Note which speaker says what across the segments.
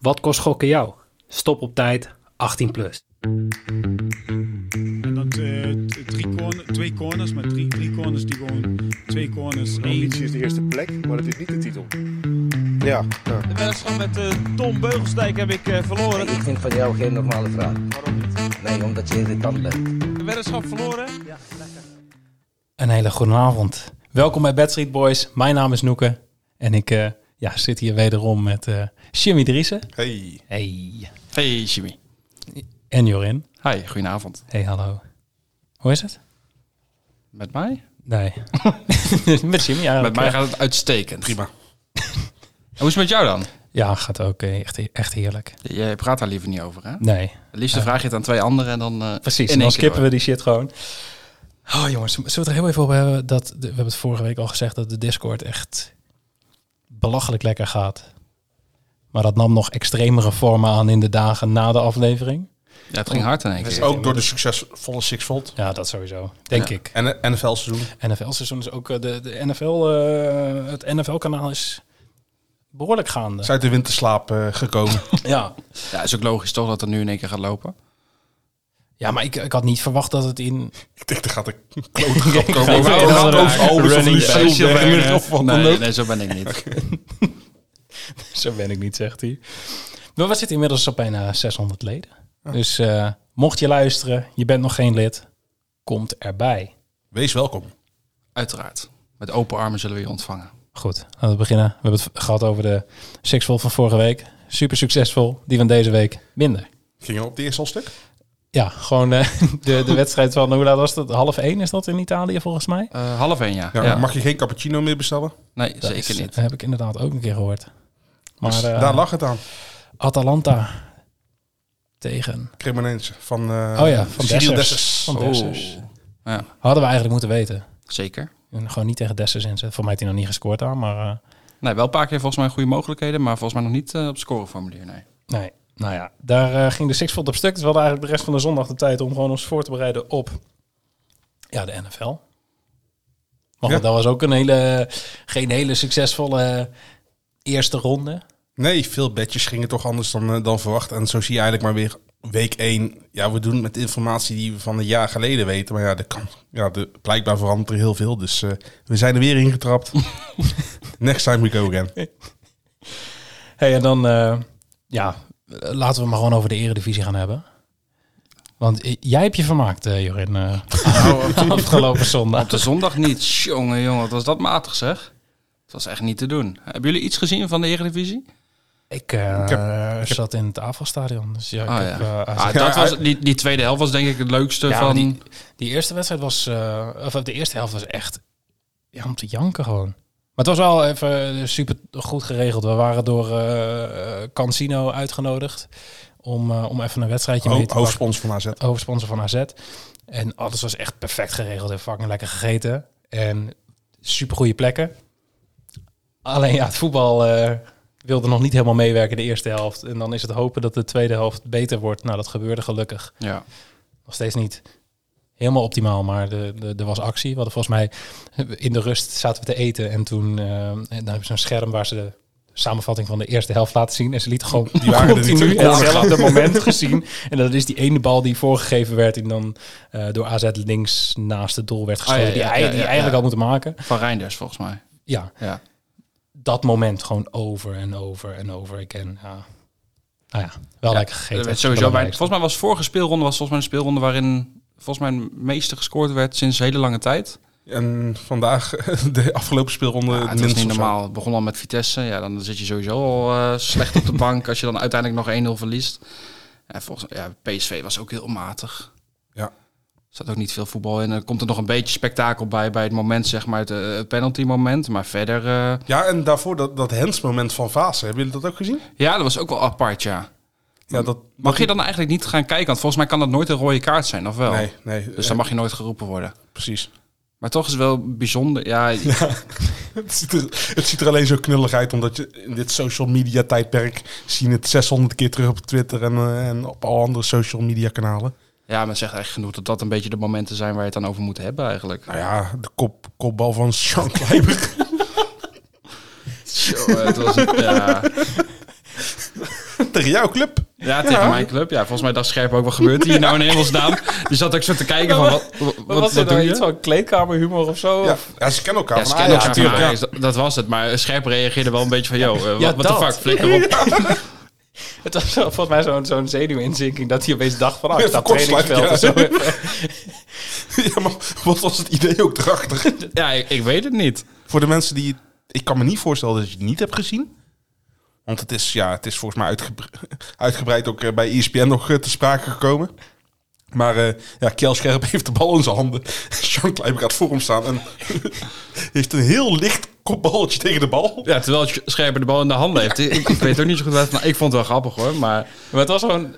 Speaker 1: Wat kost gokken jou? Stop op tijd 18 plus.
Speaker 2: En dat eh, t- drie corner- twee corners, maar drie, drie corners die gewoon twee corners.
Speaker 3: De
Speaker 2: één.
Speaker 3: ambitie is de eerste plek, maar dat is niet de titel. Ja, ja.
Speaker 4: De wedstrijd met eh, Tom Beugelsdijk heb ik eh, verloren.
Speaker 5: Ik vind van jou geen normale vraag.
Speaker 4: Waarom niet?
Speaker 5: Nee, omdat je irritant bent.
Speaker 4: De weddenschap verloren.
Speaker 1: Een hele goede avond. Welkom bij Bad Street Boys. Mijn naam is Noeke. En ik eh, ja, zit hier wederom met eh Jimmy Driessen.
Speaker 6: Hey.
Speaker 1: Hey.
Speaker 7: Hey Jimmy.
Speaker 1: En Jorin.
Speaker 7: Hi, goedenavond.
Speaker 1: Hey, hallo. Hoe is het?
Speaker 7: Met mij?
Speaker 1: Nee. met Jimmy eigenlijk.
Speaker 7: met mij
Speaker 1: ja.
Speaker 7: gaat het uitstekend. Prima. En hoe is het met jou dan?
Speaker 1: Ja, gaat ook eh, echt, echt heerlijk.
Speaker 7: Jij praat daar liever niet over, hè? Het
Speaker 1: Nee,
Speaker 7: liefst vraag je het aan twee anderen en dan... eh,
Speaker 1: precies.
Speaker 7: in
Speaker 1: En
Speaker 7: één
Speaker 1: dan
Speaker 7: keer
Speaker 1: skippen we
Speaker 7: door.
Speaker 1: die shit gewoon. Oh jongens, zullen we het er heel even op hebben? Dat, de- we hebben het vorige week al gezegd dat de Discord echt belachelijk lekker gaat. Maar dat nam nog extremere vormen aan in de dagen na de aflevering.
Speaker 7: Ja, het ging hard in één
Speaker 6: Dat is
Speaker 7: keer.
Speaker 6: ook door de succesvolle Six Volt.
Speaker 1: Ja, dat sowieso. Denk
Speaker 7: Ja.
Speaker 1: ik.
Speaker 6: En het NFL-seizoen.
Speaker 1: NFL-seizoen is ook... eh, De, de NFL, eh, het NFL-kanaal is behoorlijk gaande.
Speaker 6: Is uit de winterslaap eh, gekomen.
Speaker 1: Ja.
Speaker 7: Ja, is ook logisch toch dat het nu in één keer gaat lopen.
Speaker 1: ja, maar ik, ik had niet verwacht dat het in
Speaker 6: ik denk, daar gaat een klote grap
Speaker 1: Ik
Speaker 6: komen.
Speaker 1: wou het
Speaker 6: Over een
Speaker 1: al
Speaker 6: rood
Speaker 1: raken.
Speaker 6: oog of
Speaker 1: Running
Speaker 6: een
Speaker 1: back.
Speaker 6: Lucille of wat dan
Speaker 7: nee,
Speaker 6: ook.
Speaker 7: nee, zo ben ik niet.
Speaker 1: Zo ben ik niet, zegt hij. Maar we zitten inmiddels op bijna 600 leden.
Speaker 7: Ah.
Speaker 1: Dus eh, mocht je luisteren, je bent nog geen lid, komt erbij.
Speaker 6: Wees welkom.
Speaker 7: Uiteraard. Met open armen zullen we je ontvangen.
Speaker 1: Goed, laten we beginnen. We hebben het v- gehad over de Sixfold van vorige week. Super succesvol. Die van deze week minder.
Speaker 6: Ging je op de eerste al stuk?
Speaker 1: Ja, gewoon eh, de, de wedstrijd van, hoe laat was dat? Half één is dat in Italië volgens mij?
Speaker 7: Eh, half één, ja.
Speaker 6: Ja,
Speaker 7: Ja.
Speaker 6: Mag je geen cappuccino meer bestellen?
Speaker 7: Nee,
Speaker 1: Dat
Speaker 7: zeker
Speaker 1: is- eh,
Speaker 7: niet.
Speaker 1: heb ik inderdaad ook een keer gehoord. Maar
Speaker 6: Dus
Speaker 1: eh,
Speaker 6: daar lag het aan.
Speaker 1: Atalanta tegen...
Speaker 6: Cremonense van, eh
Speaker 1: Oh ja, van Dessers.
Speaker 6: Cyril Dessers. Oh.
Speaker 1: Van Dessers.
Speaker 7: Oh, Ja,
Speaker 1: Hadden we eigenlijk moeten weten.
Speaker 7: zeker.
Speaker 1: En gewoon niet tegen Dessers inzetten. Voor mij heeft hij nog niet gescoord aan, maar eh,
Speaker 7: Nee, wel een paar keer volgens mij goede mogelijkheden, maar volgens mij nog niet eh, op scoreformulier, nee.
Speaker 1: nee. Nou ja, daar eh, ging de Sixfold op stuk. Dus we hadden eigenlijk de rest van de zondag de tijd om gewoon ons voor te bereiden op ja, de NFL. Maar goed,
Speaker 6: Ja.
Speaker 1: dat was ook een hele, geen hele succesvolle eerste ronde.
Speaker 6: Nee, veel bedjes gingen toch anders dan, eh, dan verwacht. En zo zie je eigenlijk maar weer week 1. Ja, we doen het met informatie die we van een jaar geleden weten. Maar ja, de kan, ja de, blijkbaar verandert er heel veel. Dus eh, we zijn er weer ingetrapt. Next time we go again.
Speaker 1: hey, en dan eh, ja, eh, laten we het maar gewoon over de eredivisie gaan hebben. Want eh, jij hebt je vermaakt, eh, Jorin, eh,
Speaker 6: Nou,
Speaker 1: afgelopen zondag.
Speaker 7: Op de zondag niet. Jongen, jongen, wat was dat matig zeg. Het was echt niet te doen. Hebben jullie iets gezien van de Eredivisie?
Speaker 1: Ik, eh,
Speaker 6: Ik heb-
Speaker 1: zat in het AFAL-stadion, dus ja, ik
Speaker 7: Ah,
Speaker 1: heb
Speaker 7: ja.
Speaker 1: eh, AZ
Speaker 7: Ah, dat was, die, die tweede helft was denk ik het leukste
Speaker 1: Ja,
Speaker 7: van...
Speaker 1: die- Die eerste wedstrijd was, eh, of de eerste helft was echt ja, om te janken gewoon. Maar het was wel even eh, super goed geregeld. We waren door eh, eh, Cancino uitgenodigd om, eh, om even een wedstrijdje mee
Speaker 6: Ho
Speaker 1: te pakken.
Speaker 6: hoofdsponsor van AZ.
Speaker 1: Hoofdsponsor van AZ. En alles was echt perfect geregeld. En fucking lekker gegeten. En super goede plekken. Alleen ja, het voetbal eh, wilde nog niet helemaal meewerken de eerste helft. En dan is het hopen dat de tweede helft beter wordt. Nou, dat gebeurde gelukkig
Speaker 7: Ja.
Speaker 1: nog steeds niet helemaal optimaal, maar de- de- er was actie. We hadden volgens mij in de rust zaten we te eten en toen eh, en dan hebben ze een scherm waar ze de samenvatting van de eerste helft laten zien. En ze lieten gewoon die
Speaker 6: waren er niet
Speaker 1: continu
Speaker 6: toe.
Speaker 1: hetzelfde moment gezien. En dat is die ene bal die voorgegeven werd en dan eh, door AZ links naast het doel werd gestoten.
Speaker 7: ja, ja,
Speaker 1: die hij-
Speaker 7: ja, ja,
Speaker 1: die
Speaker 7: ja.
Speaker 1: eigenlijk al moeten maken.
Speaker 7: Van Reinders volgens mij.
Speaker 1: Ja,
Speaker 7: Ja.
Speaker 1: dat moment gewoon over en over en over again. Ja. Nou ja, wel
Speaker 7: Ja,
Speaker 1: lekker gegeten.
Speaker 7: Er werd
Speaker 1: Het
Speaker 7: sowieso bij,
Speaker 1: belangrijkste.
Speaker 7: volgens mij was vorige speelronde was volgens mij een speelronde waarin volgens mij het meeste gescoord werd sinds hele lange tijd.
Speaker 6: En vandaag, de afgelopen speelronde,
Speaker 7: Ja,
Speaker 6: de
Speaker 7: het was
Speaker 6: minst
Speaker 7: niet
Speaker 6: of zo.
Speaker 7: normaal. Het begon al met Vitesse. Ja, dan zit je sowieso al eh, slecht op de bank als je dan uiteindelijk nog 1-0 verliest. En volgens, ja, PSV was ook heel matig.
Speaker 6: Ja.
Speaker 7: Er zat ook niet veel voetbal in. Er komt er nog een beetje spektakel bij, bij het moment, zeg maar, het, eh, het penalty moment. Maar verder, eh,
Speaker 6: Ja, en daarvoor dat, dat hensmoment van Vaassen. Hebben jullie dat ook gezien?
Speaker 7: ja, dat was ook wel apart, ja.
Speaker 6: Ja, dat,
Speaker 7: Mag je dan eigenlijk niet gaan kijken? Want volgens mij kan dat nooit een rode kaart zijn, of wel?
Speaker 6: Nee, nee.
Speaker 7: Dus
Speaker 6: eh,
Speaker 7: dan mag je nooit geroepen worden.
Speaker 6: Precies.
Speaker 7: Maar toch is het wel bijzonder. Ja,
Speaker 6: Het ziet, er, het ziet er alleen zo knullig uit, omdat je in dit social media tijdperk zien het 600 keer terug op Twitter en, eh, en op alle andere social media kanalen.
Speaker 7: ja, men zegt echt genoeg dat dat een beetje de momenten zijn waar je het dan over moet hebben eigenlijk.
Speaker 6: Nou ja, de kop, kopbal van Sean Kleiber.
Speaker 7: Zo, eh, het was, ja.
Speaker 6: Tegen jouw club.
Speaker 7: Ja, tegen mijn club. Ja, volgens mij dacht Scherp ook, wat gebeurt hier nou in hemelsnaam? Die zat ook zo te kijken van, wat, wat,
Speaker 1: Wat
Speaker 7: wat
Speaker 1: was er
Speaker 7: doe
Speaker 1: nou
Speaker 7: je?
Speaker 1: iets van kleedkamerhumor of zo?
Speaker 6: Ja, ja, ze kennen elkaar.
Speaker 7: Ja,
Speaker 6: van
Speaker 7: scannen
Speaker 6: Ajax
Speaker 7: elkaar van
Speaker 6: natuurlijk,
Speaker 7: Ajax, dat, dat was het. Maar Scherp reageerde wel een beetje van, yo, eh,
Speaker 1: Ja,
Speaker 7: wat de
Speaker 1: dat.
Speaker 7: fuck, flikker op.
Speaker 1: Het was zo- volgens mij zo'n zo'n zenuwinzinking dat hij opeens dacht van, ah, ik
Speaker 6: Ja,
Speaker 1: sta op
Speaker 6: verkortsluit,
Speaker 1: trainingsveld of zo.
Speaker 6: ja. Ja, maar wat was het idee ook erachter?
Speaker 7: Ja, ik, ik weet het niet.
Speaker 6: Voor de mensen die... Ik kan me niet voorstellen dat je het niet hebt gezien. Want het is, ja, het is volgens mij uitgebre- uitgebreid ook eh, bij ESPN nog eh, te sprake gekomen. Maar eh ja, Kjell Scherp heeft de bal in zijn handen. Sean Kleiber gaat voor hem staan en heeft een heel licht kopballetje tegen de bal.
Speaker 7: Ja, terwijl Scherp de bal in de handen heeft. Ik, ik weet ook niet zo goed wat... Nou, ik vond het wel grappig hoor, maar...
Speaker 1: Maar het was zo'n...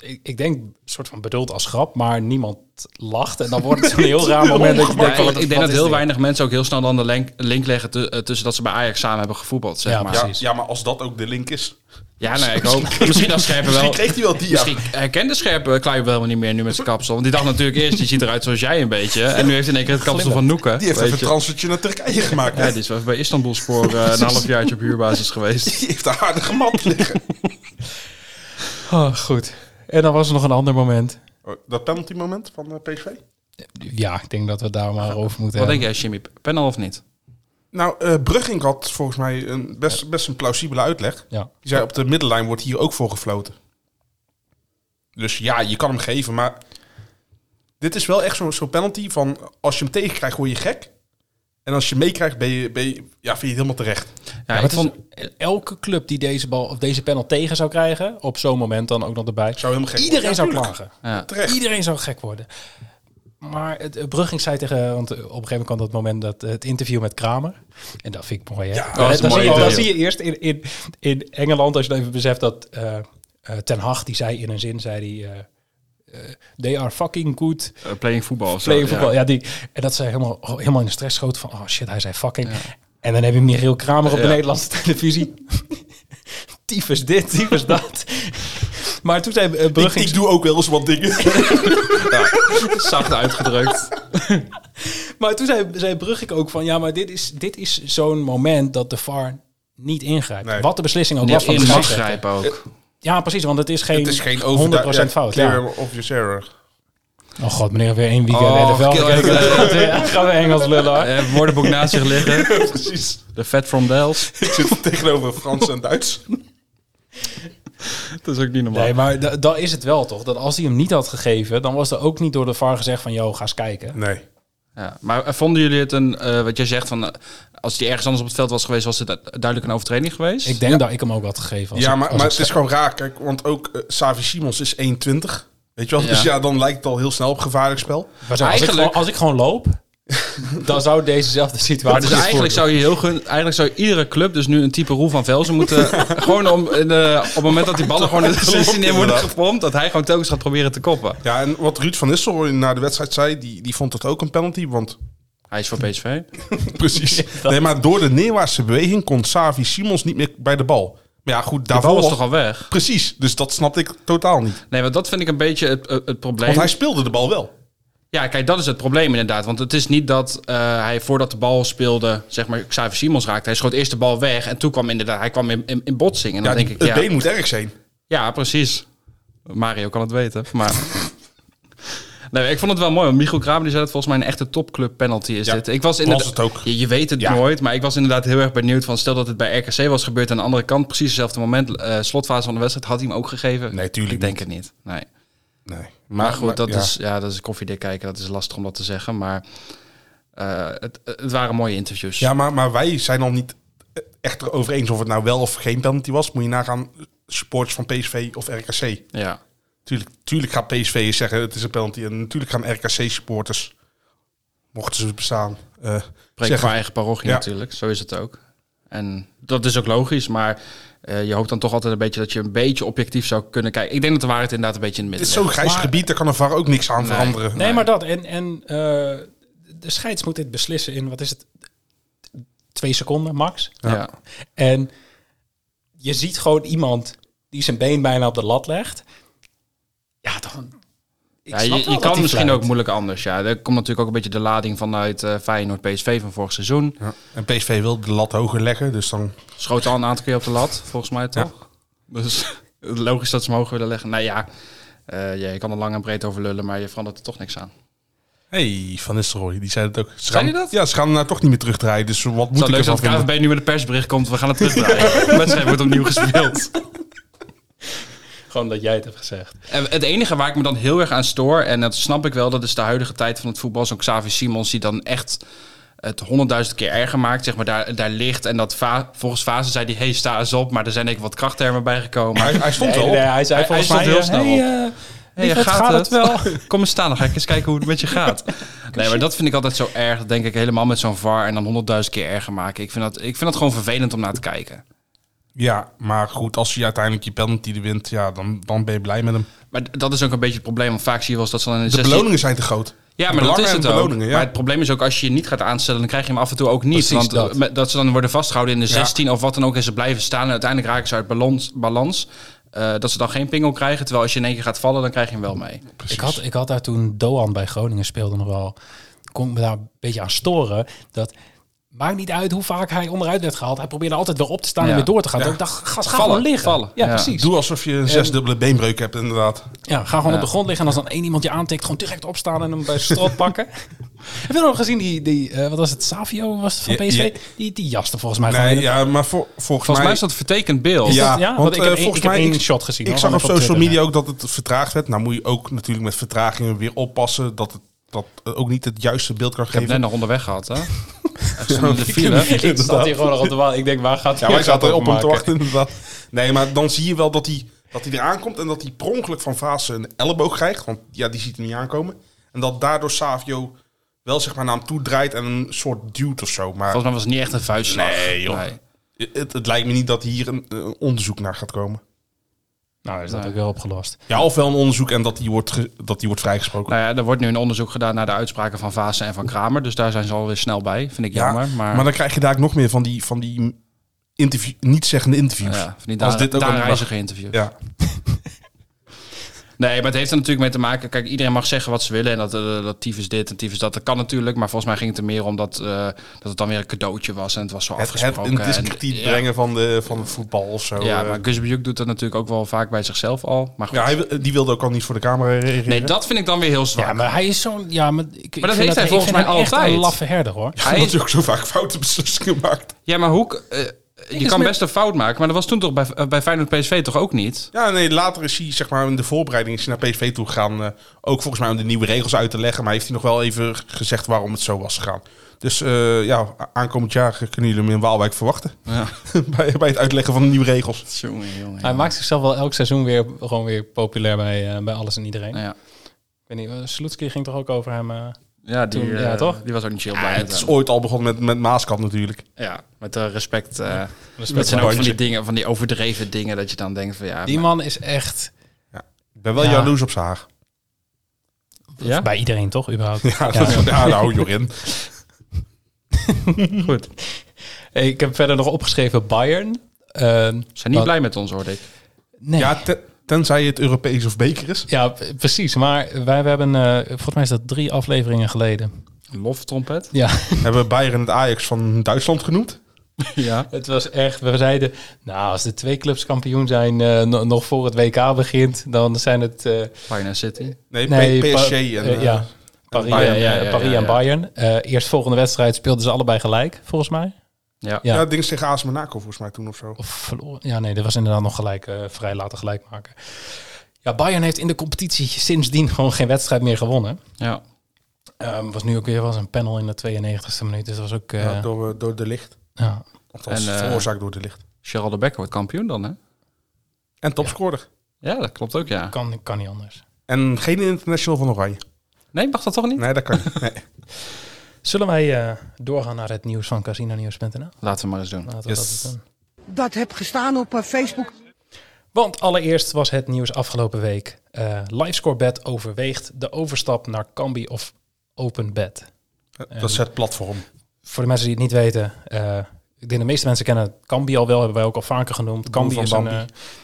Speaker 1: Ik, ik denk, soort van bedoeld als grap, maar niemand lacht. En dan wordt het zo'n heel raar moment dat je
Speaker 7: Ja,
Speaker 1: denkt van,
Speaker 7: ik,
Speaker 1: wat-
Speaker 7: ik denk
Speaker 1: wat
Speaker 7: dat
Speaker 1: is
Speaker 7: heel
Speaker 1: dit?
Speaker 7: weinig mensen ook heel snel dan de link, link leggen tu- eh, tussen dat ze bij Ajax samen hebben gevoetbald, zeg
Speaker 1: Ja,
Speaker 7: maar.
Speaker 6: Ja,
Speaker 1: precies.
Speaker 6: ja, maar als dat ook de link is.
Speaker 7: Ja, nee, ik hoop. Misschien als Scherpen wel.
Speaker 6: Misschien kreeg hij wel die. ja.
Speaker 7: Misschien herkende Scherpen Kluivert wel helemaal niet meer nu met zijn kapsel. Want die dacht natuurlijk eerst, die ziet eruit zoals jij een beetje. En nu heeft hij in één keer het kapsel van Noeken.
Speaker 6: Die heeft
Speaker 7: weet
Speaker 6: even een
Speaker 7: je.
Speaker 6: transfertje naar Turkije gemaakt.
Speaker 7: Ja, dus- die is wel even bij Istanbul Spoor eh, een halfjaartje op huurbasis geweest.
Speaker 6: Die heeft een aardige mat liggen.
Speaker 1: Oh, goed. En dan was er nog een ander moment.
Speaker 6: Oh, Dat penalty moment van eh, PSV?
Speaker 1: Ja, ik denk dat we het daar maar over moeten
Speaker 7: Wat denk
Speaker 1: hebben.
Speaker 7: jij, Jimmy? Panel of niet?
Speaker 6: Nou, eh Brugging had volgens mij een best, best een plausibele uitleg.
Speaker 1: Ja.
Speaker 6: Die zei op de middenlijn wordt hier ook voor gefloten. Dus ja, je kan hem geven, maar dit is wel echt zo'n zo'n penalty van als je hem tegenkrijgt word je gek. En als je hem meekrijgt ben je, ben je, ja, vind je het helemaal terecht.
Speaker 7: Ja,
Speaker 1: Ja,
Speaker 7: ik
Speaker 1: het
Speaker 7: vond...
Speaker 1: is- elke club die deze bal of deze panel tegen zou krijgen, op zo'n moment dan ook nog erbij,
Speaker 6: Zou helemaal gek
Speaker 1: iedereen
Speaker 6: worden.
Speaker 1: zou
Speaker 6: Ja, tuurlijk.
Speaker 1: klagen.
Speaker 7: Ja.
Speaker 6: Terecht.
Speaker 1: Iedereen zou gek worden. Maar het, eh, Brugging zei tegen, want eh, op een gegeven moment kwam dat moment dat eh, het interview met Kramer. En dat vind ik mooi. Hè?
Speaker 6: Ja, dat
Speaker 1: Dan-
Speaker 7: is een
Speaker 1: dan,
Speaker 7: mooi
Speaker 1: zie je, dan
Speaker 7: interview.
Speaker 1: zie je eerst in, in, in Engeland, als je dan even beseft dat eh, eh, Ten Hag, die zei in een zin, zei hij, eh, eh, they are fucking good
Speaker 7: eh, playing voetbal of zo.
Speaker 1: playing voetbal.
Speaker 7: ja.
Speaker 1: Ja. die, en dat ze helemaal, helemaal in de stress schoten van, oh shit, hij zei fucking. En dan heb je Michiel Kramer op de
Speaker 7: Ja.
Speaker 1: Nederlandse televisie. tyfus dit, tyfus dat. Maar toen zei eh,
Speaker 6: Ik,
Speaker 1: Brugging...
Speaker 6: ik doe ook wel eens wat dingen.
Speaker 7: Zacht uitgedrukt.
Speaker 1: Maar toen zei, zei Brugge ook van... ja, maar dit is, dit is zo'n moment dat de VAR niet ingrijpt.
Speaker 6: Nee.
Speaker 1: Wat de beslissing ook was
Speaker 7: Niet
Speaker 1: van de
Speaker 7: in mag
Speaker 1: scheidsrechter.
Speaker 7: grijpen ook.
Speaker 1: Ja, precies, want het is geen,
Speaker 6: Het is geen
Speaker 1: 100%
Speaker 6: overduidelijk
Speaker 1: fout.
Speaker 6: Clear
Speaker 1: Ja.
Speaker 6: obvious error.
Speaker 1: Oh god, meneer, weer één weekend
Speaker 7: Oh,
Speaker 1: NFL.
Speaker 7: kill-
Speaker 1: Ja, gaan we Engels lullen. hoor.
Speaker 7: Eh, woordenboek naast zich liggen. Precies. De Fat from Dells.
Speaker 6: Ik zit tegenover Frans en Duits.
Speaker 7: Dat is ook niet normaal.
Speaker 1: Nee, maar da- dat is het wel toch? Dat als hij hem niet had gegeven... dan was er ook niet door de VAR gezegd van... joh, ga eens kijken.
Speaker 6: Nee.
Speaker 7: Ja, maar eh, vonden jullie het een, eh, wat jij zegt van, eh, als die ergens anders op het veld was geweest, was het eh, duidelijk een overtreding geweest?
Speaker 1: Ik denk dat ik hem ook had gegeven. Als
Speaker 6: Ja,
Speaker 1: ik-
Speaker 6: maar,
Speaker 1: als
Speaker 6: maar
Speaker 1: ik
Speaker 6: het is gewoon raar. Kijk, want ook eh, Savi Simons is 1,20. Weet je wel? Dus
Speaker 7: Ja.
Speaker 6: ja, dan lijkt het al heel snel op gevaarlijk spel.
Speaker 1: Maar zo, als, ik
Speaker 7: Eigenlijk-
Speaker 1: gewoon, als ik gewoon loop, dan zou dezezelfde
Speaker 7: maar
Speaker 1: situatie.
Speaker 7: dus eigenlijk zou je heel gun, eigenlijk zou iedere club dus nu een type Roel van Velzen moeten, gewoon om, in de- op het moment dat die ballen gewoon in de 16 in worden
Speaker 6: Inderdaad.
Speaker 7: gepompt, dat hij gewoon telkens gaat proberen te koppen.
Speaker 6: Ja, en wat Ruud van Nistelrooy na de wedstrijd zei, die, die vond dat ook een penalty. Want
Speaker 7: Hij is voor PSV.
Speaker 6: precies. Nee, maar door de neerwaartse beweging kon Savi Simons niet meer bij de bal. Maar ja, goed,
Speaker 7: De
Speaker 6: daarvoor
Speaker 7: bal was
Speaker 6: was
Speaker 7: toch al weg?
Speaker 6: Precies, dus dat snapte ik totaal niet.
Speaker 7: Nee, want dat vind ik een beetje het, het, het probleem.
Speaker 6: Want hij speelde de bal wel.
Speaker 7: Ja, kijk, dat is het probleem inderdaad. Want het is niet dat eh, hij voordat de bal speelde, zeg maar, Xavier Simons raakte. Hij schoot eerst de bal weg en toen kwam inderdaad, hij kwam in, in, in botsing. En dan
Speaker 6: Ja,
Speaker 7: denk
Speaker 6: die-
Speaker 7: ik,
Speaker 6: het
Speaker 7: ja,
Speaker 6: been moet erg zijn.
Speaker 7: Ja, precies. Mario kan het weten, maar... Nee, ik vond het wel mooi, want Michiel Kramer die zei dat volgens mij een echte topclub penalty is
Speaker 6: Ja,
Speaker 7: dit. Ik was inderdaad,
Speaker 6: was het ook.
Speaker 7: Je, je weet het
Speaker 6: Ja.
Speaker 7: nooit, maar ik was inderdaad heel erg benieuwd van... stel dat het bij RKC was gebeurd aan de andere kant, precies hetzelfde moment... eh, slotfase van de wedstrijd, had hij hem ook gegeven?
Speaker 6: Nee, tuurlijk
Speaker 7: Ik denk het niet, nee.
Speaker 6: Nee. Maar,
Speaker 7: Maar goed, dat,
Speaker 6: ja.
Speaker 7: Is, ja, dat is koffiedik kijken, dat is lastig om dat te zeggen. Maar eh, het, het waren mooie interviews.
Speaker 6: Ja, maar, maar wij zijn al niet echt erover eens of het nou wel of geen penalty was. Moet je nagaan, supporters van PSV of RKC.
Speaker 7: ja.
Speaker 6: Tuurlijk, tuurlijk gaat PSV zeggen het is een penalty. En natuurlijk gaan RKC-supporters, mochten ze bestaan, eh
Speaker 7: Spreek voor
Speaker 6: zeggen...
Speaker 7: eigen parochie
Speaker 6: Ja.
Speaker 7: natuurlijk, zo is het ook. En dat is ook logisch, maar eh, je hoopt dan toch altijd een beetje dat je een beetje objectief zou kunnen kijken. Ik denk dat de waarheid inderdaad een beetje in het
Speaker 6: Het is
Speaker 7: midden
Speaker 6: zo'n grijs
Speaker 1: Maar-
Speaker 6: gebied, daar kan een VAR ook niks aan veranderen.
Speaker 1: Nee, maar dat. En, en eh, de scheids moet dit beslissen in, wat is het, twee seconden max.
Speaker 7: ligt. Ja.
Speaker 1: En je ziet gewoon iemand die zijn been bijna op de lat legt. Ja, dan... Ik
Speaker 7: Ja,
Speaker 1: snap
Speaker 7: je
Speaker 1: wel
Speaker 7: je
Speaker 1: dat
Speaker 7: kan
Speaker 1: die
Speaker 7: misschien
Speaker 1: fluit.
Speaker 7: ook moeilijk anders. Ja, er komt natuurlijk ook een beetje de lading vanuit eh Feyenoord-PSV van vorig seizoen.
Speaker 6: En PSV wil de lat hoger leggen, dus dan...
Speaker 7: Schoot al een aantal keer op de lat, volgens mij toch? Dus Logisch dat ze hem hoog willen leggen. Nou ja, eh, ja, je kan er lang en breed over lullen, maar je verandert er toch niks aan.
Speaker 6: hey, Van Nistelrooy, die zei dat ook. Ze
Speaker 7: Zei
Speaker 6: gaan-
Speaker 7: die dat?
Speaker 6: Ja, ze gaan hem nou toch niet meer terugdraaien. Dus wat
Speaker 7: Het
Speaker 6: moet
Speaker 7: zou
Speaker 6: ik
Speaker 7: leuk zijn
Speaker 6: ervan
Speaker 7: als
Speaker 6: vinden?
Speaker 7: KVB nu met een persbericht komt. We gaan het terugdraaien. De wedstrijd wordt opnieuw gespeeld.
Speaker 1: Gewoon dat jij het hebt gezegd.
Speaker 7: En het enige waar ik me dan heel erg aan stoor, en dat snap ik wel, dat is de huidige tijd van het voetbal. Zo'n Xavi Simons die dan echt het honderdduizend keer erger maakt, zeg maar, daar, daar ligt. En dat va- volgens fase zei die, hey, sta eens op. Maar er zijn denk ik wat krachttermen bijgekomen.
Speaker 6: Hij, hij stond
Speaker 1: Nee,
Speaker 6: wel.
Speaker 1: nee, hij zei
Speaker 7: Hij-
Speaker 1: volgens
Speaker 7: hij
Speaker 1: mij
Speaker 7: stond
Speaker 1: eh,
Speaker 7: heel snel
Speaker 1: hey, eh,
Speaker 7: Hey,
Speaker 1: lieverd,
Speaker 7: gaat
Speaker 1: gaat
Speaker 7: het?
Speaker 1: het wel?
Speaker 7: Kom eens staan, dan ga ik eens kijken hoe het met je gaat. Nee, maar dat vind ik altijd zo erg. Dat denk ik helemaal met zo'n VAR en dan honderdduizend keer erger maken. Ik vind, dat, ik vind dat gewoon vervelend om naar te kijken.
Speaker 6: Ja, maar goed, als hij uiteindelijk je penalty er wint, ja, dan, dan ben je blij met hem.
Speaker 7: Maar d- dat is ook een beetje het probleem. Want vaak zie je wel eens dat ze dan in de,
Speaker 6: De
Speaker 7: 16
Speaker 6: beloningen zijn te groot.
Speaker 7: Ja,
Speaker 6: De
Speaker 7: maar dat
Speaker 6: belangen
Speaker 7: is
Speaker 6: en
Speaker 7: het
Speaker 6: de
Speaker 7: ook.
Speaker 6: beloningen, ja.
Speaker 7: Maar het probleem is ook als je je niet gaat aanstellen, dan krijg je hem af en toe ook niet.
Speaker 1: Precies
Speaker 7: want eh,
Speaker 1: dat.
Speaker 7: met- dat ze dan worden vastgehouden in de
Speaker 6: Ja.
Speaker 7: 16 of wat dan ook en ze blijven staan. En uiteindelijk raken ze uit balans. balans eh, dat ze dan geen pingel krijgen. Terwijl als je in één keer gaat vallen, dan krijg je hem wel mee.
Speaker 1: Ik had, ik had daar toen Doan bij Groningen speelde nog wel. Kon ik me daar een beetje aan storen. Dat maakt niet uit hoe vaak hij onderuit werd gehaald. Hij probeerde altijd weer op te staan
Speaker 7: Ja.
Speaker 1: en weer door te gaan.
Speaker 6: Ja.
Speaker 1: Dat Ik dacht, gast, ga
Speaker 7: Vallen,
Speaker 1: gewoon liggen.
Speaker 7: vallen.
Speaker 1: Ja,
Speaker 7: Ja.
Speaker 1: precies.
Speaker 6: Doe alsof je een zesdubbele beenbreuk hebt, inderdaad.
Speaker 1: Ja, ga gewoon
Speaker 7: Ja.
Speaker 1: op de grond liggen. En als dan één iemand je aantikt, gewoon direct opstaan en hem bij zijn strot pakken. Heb je nog gezien die, die eh, wat was het, Savio was het van
Speaker 6: Ja,
Speaker 1: PSV?
Speaker 6: ja.
Speaker 1: Die, die jaste volgens mij. gewoon
Speaker 6: Nee,
Speaker 1: in het-
Speaker 6: ja, maar vol- volgens,
Speaker 7: Volgens mij
Speaker 6: mij...
Speaker 7: is dat vertekend beeld.
Speaker 1: dat-
Speaker 6: ja,
Speaker 1: ja? Want
Speaker 6: want
Speaker 1: ik heb
Speaker 6: eh,
Speaker 1: één-
Speaker 6: volgens
Speaker 1: ik heb
Speaker 6: mij...
Speaker 1: één shot gezien,
Speaker 6: Ik
Speaker 1: hoor,
Speaker 6: zag
Speaker 1: van
Speaker 6: op
Speaker 1: hem op
Speaker 6: social
Speaker 1: Twitter,
Speaker 6: media ook dat het vertraagd werd. Nou moet je ook natuurlijk met vertragingen weer oppassen dat het dat het ook niet het juiste beeld kan
Speaker 7: Ik heb
Speaker 6: geven.
Speaker 7: net nog onderweg gehad, hè? Echt zo in de file.
Speaker 1: Ik zat hier gewoon nog op de wal. Ik denk, waar gaat
Speaker 6: Ja,
Speaker 1: hij
Speaker 6: wij zaten
Speaker 1: op
Speaker 6: op hem te
Speaker 1: maken?
Speaker 6: wachten inderdaad. Nee, maar dan zie je wel dat hij, dat hij eraan komt en dat hij per ongeluk van Vase een elleboog krijgt. Want ja, die ziet hem niet aankomen. En dat daardoor Savio wel zeg maar naar hem toe draait en een soort duwt of zo. Maar
Speaker 7: Volgens mij was het niet echt een vuistslag.
Speaker 6: Nee, joh. het, het lijkt me niet dat hier een, een onderzoek naar gaat komen.
Speaker 1: Nou, is dat
Speaker 7: Ja.
Speaker 1: ook wel opgelost.
Speaker 6: Ja, ofwel een onderzoek en dat die wordt, ge- dat die wordt vrijgesproken.
Speaker 7: Nou ja, er wordt nu een onderzoek gedaan naar de uitspraken van Vaassen en van Kramer. Dus daar zijn ze alweer snel bij. Vind ik
Speaker 6: Ja,
Speaker 7: jammer. Maar,
Speaker 6: Maar dan krijg je daar ook nog meer van die, van die interview, niet zeggende interviews.
Speaker 7: ja, van die
Speaker 6: Als
Speaker 7: daar,
Speaker 6: dit ook
Speaker 7: daar
Speaker 6: aan de
Speaker 7: reiziger interview.
Speaker 6: Ja,
Speaker 7: Nee, maar het heeft er natuurlijk mee te maken. Kijk, iedereen mag zeggen wat ze willen. En dat, eh, dat tyfus dit en tyfus dat. Dat kan natuurlijk. Maar volgens mij ging het er meer om dat, eh, dat het dan weer een cadeautje was. En het was zo
Speaker 6: het, het
Speaker 7: afgesproken.
Speaker 6: in
Speaker 7: en-
Speaker 6: discrediet
Speaker 7: ja.
Speaker 6: brengen van, de, van het voetbal of zo.
Speaker 7: Ja,
Speaker 6: eh.
Speaker 7: maar Gus Bjuk doet dat natuurlijk ook wel vaak bij zichzelf al. Maar goed.
Speaker 6: Ja, hij, wil- die wilde ook al niet voor de camera reageren.
Speaker 7: nee, dat vind ik dan weer heel zwak.
Speaker 1: Ja, maar hij is zo'n... Ja, maar, ik, ik vind
Speaker 7: heeft hij
Speaker 1: dat- ik
Speaker 7: volgens
Speaker 1: vind
Speaker 7: mij
Speaker 1: hem echt
Speaker 7: altijd.
Speaker 1: een laffe herder, hoor.
Speaker 6: Ja,
Speaker 7: Hij-
Speaker 6: omdat hij ook zo vaak foute beslissingen maakt.
Speaker 7: Ja, maar Hoek, eh, je
Speaker 1: is
Speaker 7: kan
Speaker 1: met-
Speaker 7: best een fout maken. Maar dat was toen toch bij, eh, bij Feyenoord PSV toch ook niet?
Speaker 6: Ja, nee, later is hij zeg maar in de voorbereiding is hij naar PSV toe gegaan. eh, ook volgens mij om de nieuwe regels uit te leggen. Maar heeft hij nog wel even g- gezegd waarom het zo was gegaan. Dus eh, ja, a- aankomend jaar kunnen jullie hem in Waalwijk verwachten.
Speaker 7: Ja.
Speaker 6: bij, bij het uitleggen van de nieuwe regels.
Speaker 7: Jongen, jongen.
Speaker 1: Hij maakt zichzelf wel elk seizoen weer, gewoon weer populair bij, eh, bij alles en iedereen.
Speaker 7: Ja,
Speaker 1: Ik weet niet, eh, Sloetski ging toch ook over hem... eh,
Speaker 7: ja, die,
Speaker 1: Toen,
Speaker 7: eh,
Speaker 1: ja, toch?
Speaker 7: die was ook niet chill
Speaker 6: Ja,
Speaker 7: blij.
Speaker 6: het
Speaker 7: met
Speaker 6: is
Speaker 7: hem.
Speaker 6: ooit al begonnen met, met Maaskamp natuurlijk.
Speaker 7: Ja, met eh, respect. eh,
Speaker 1: respect
Speaker 7: dat zijn ook van die
Speaker 6: bandje.
Speaker 7: dingen, van die overdreven dingen dat je dan denkt van ja.
Speaker 1: Die
Speaker 7: maar-
Speaker 1: man is echt...
Speaker 6: Ik ben wel
Speaker 1: Ja.
Speaker 6: jaloers op Saar.
Speaker 7: ja?
Speaker 1: Bij iedereen toch, überhaupt?
Speaker 6: Ja, dat is- ja, nou Jorin.
Speaker 1: Hey, Ik heb verder nog opgeschreven Bayern. Ehm,
Speaker 7: Zijn niet
Speaker 1: Wat?
Speaker 7: blij met ons, hoorde ik.
Speaker 1: nee.
Speaker 6: Ja, te- tenzij het Europees of beker is.
Speaker 1: Ja, p- precies. Maar wij, we hebben, eh, volgens mij is dat drie afleveringen geleden.
Speaker 7: Een loftrompet.
Speaker 1: Ja,
Speaker 6: Hebben we Bayern het Ajax van Duitsland genoemd.
Speaker 7: ja.
Speaker 1: het was echt. We zeiden, nou, als de twee clubs kampioen zijn eh, no- nog voor het WK begint, dan zijn het eh,
Speaker 7: Feyenoord City.
Speaker 6: Nee, P-
Speaker 1: nee,
Speaker 6: PSG
Speaker 1: Pa-
Speaker 6: en...
Speaker 1: eh,
Speaker 6: eh,
Speaker 1: ja, Paris,
Speaker 6: Bayern.
Speaker 1: eh,
Speaker 7: Ja, ja, ja,
Speaker 1: Paris
Speaker 7: ja,
Speaker 1: en
Speaker 7: ja.
Speaker 1: Bayern. Eh eerst volgende wedstrijd speelden ze allebei gelijk, volgens mij.
Speaker 7: Ja.
Speaker 1: Ja.
Speaker 6: Ja, het ding is tegen AS Monaco volgens mij toen of zo.
Speaker 1: Of verloren. Ja, nee, dat was inderdaad nog gelijk eh, vrij laten gelijk maken. Ja, Bayern heeft in de competitie sindsdien gewoon geen wedstrijd meer gewonnen.
Speaker 7: ja.
Speaker 1: Ehm, was nu ook weer was een panel in de 92e minuut. Dus dat was ook. eh,
Speaker 6: Ja, door, eh, door de licht.
Speaker 1: ja.
Speaker 6: Althans,
Speaker 7: En, eh,
Speaker 6: veroorzaakt door de licht.
Speaker 7: Gerald de Becker wordt kampioen dan, hè?
Speaker 6: En topscorer.
Speaker 7: Ja, dat klopt ook, ja.
Speaker 1: kan, kan niet anders.
Speaker 6: En geen international van Oranje.
Speaker 7: Nee, mag dat toch niet?
Speaker 6: Nee, dat kan niet. Nee.
Speaker 1: Zullen wij eh, doorgaan naar het nieuws van casinonews.nl?
Speaker 7: Laten we maar eens doen.
Speaker 1: Laten we
Speaker 6: Yes.
Speaker 1: dat doen.
Speaker 8: Dat heb gestaan op eh, Facebook.
Speaker 1: Want allereerst was het nieuws afgelopen week. eh LiveScorebet overweegt de overstap naar Kambi of OpenBet.
Speaker 6: Dat is het platform.
Speaker 1: Voor de mensen die het niet weten, eh, ik denk de meeste mensen kennen Kambi al wel, hebben wij ook al vaker genoemd. Kambi
Speaker 6: van
Speaker 1: is een,
Speaker 6: Bambi.
Speaker 1: eh,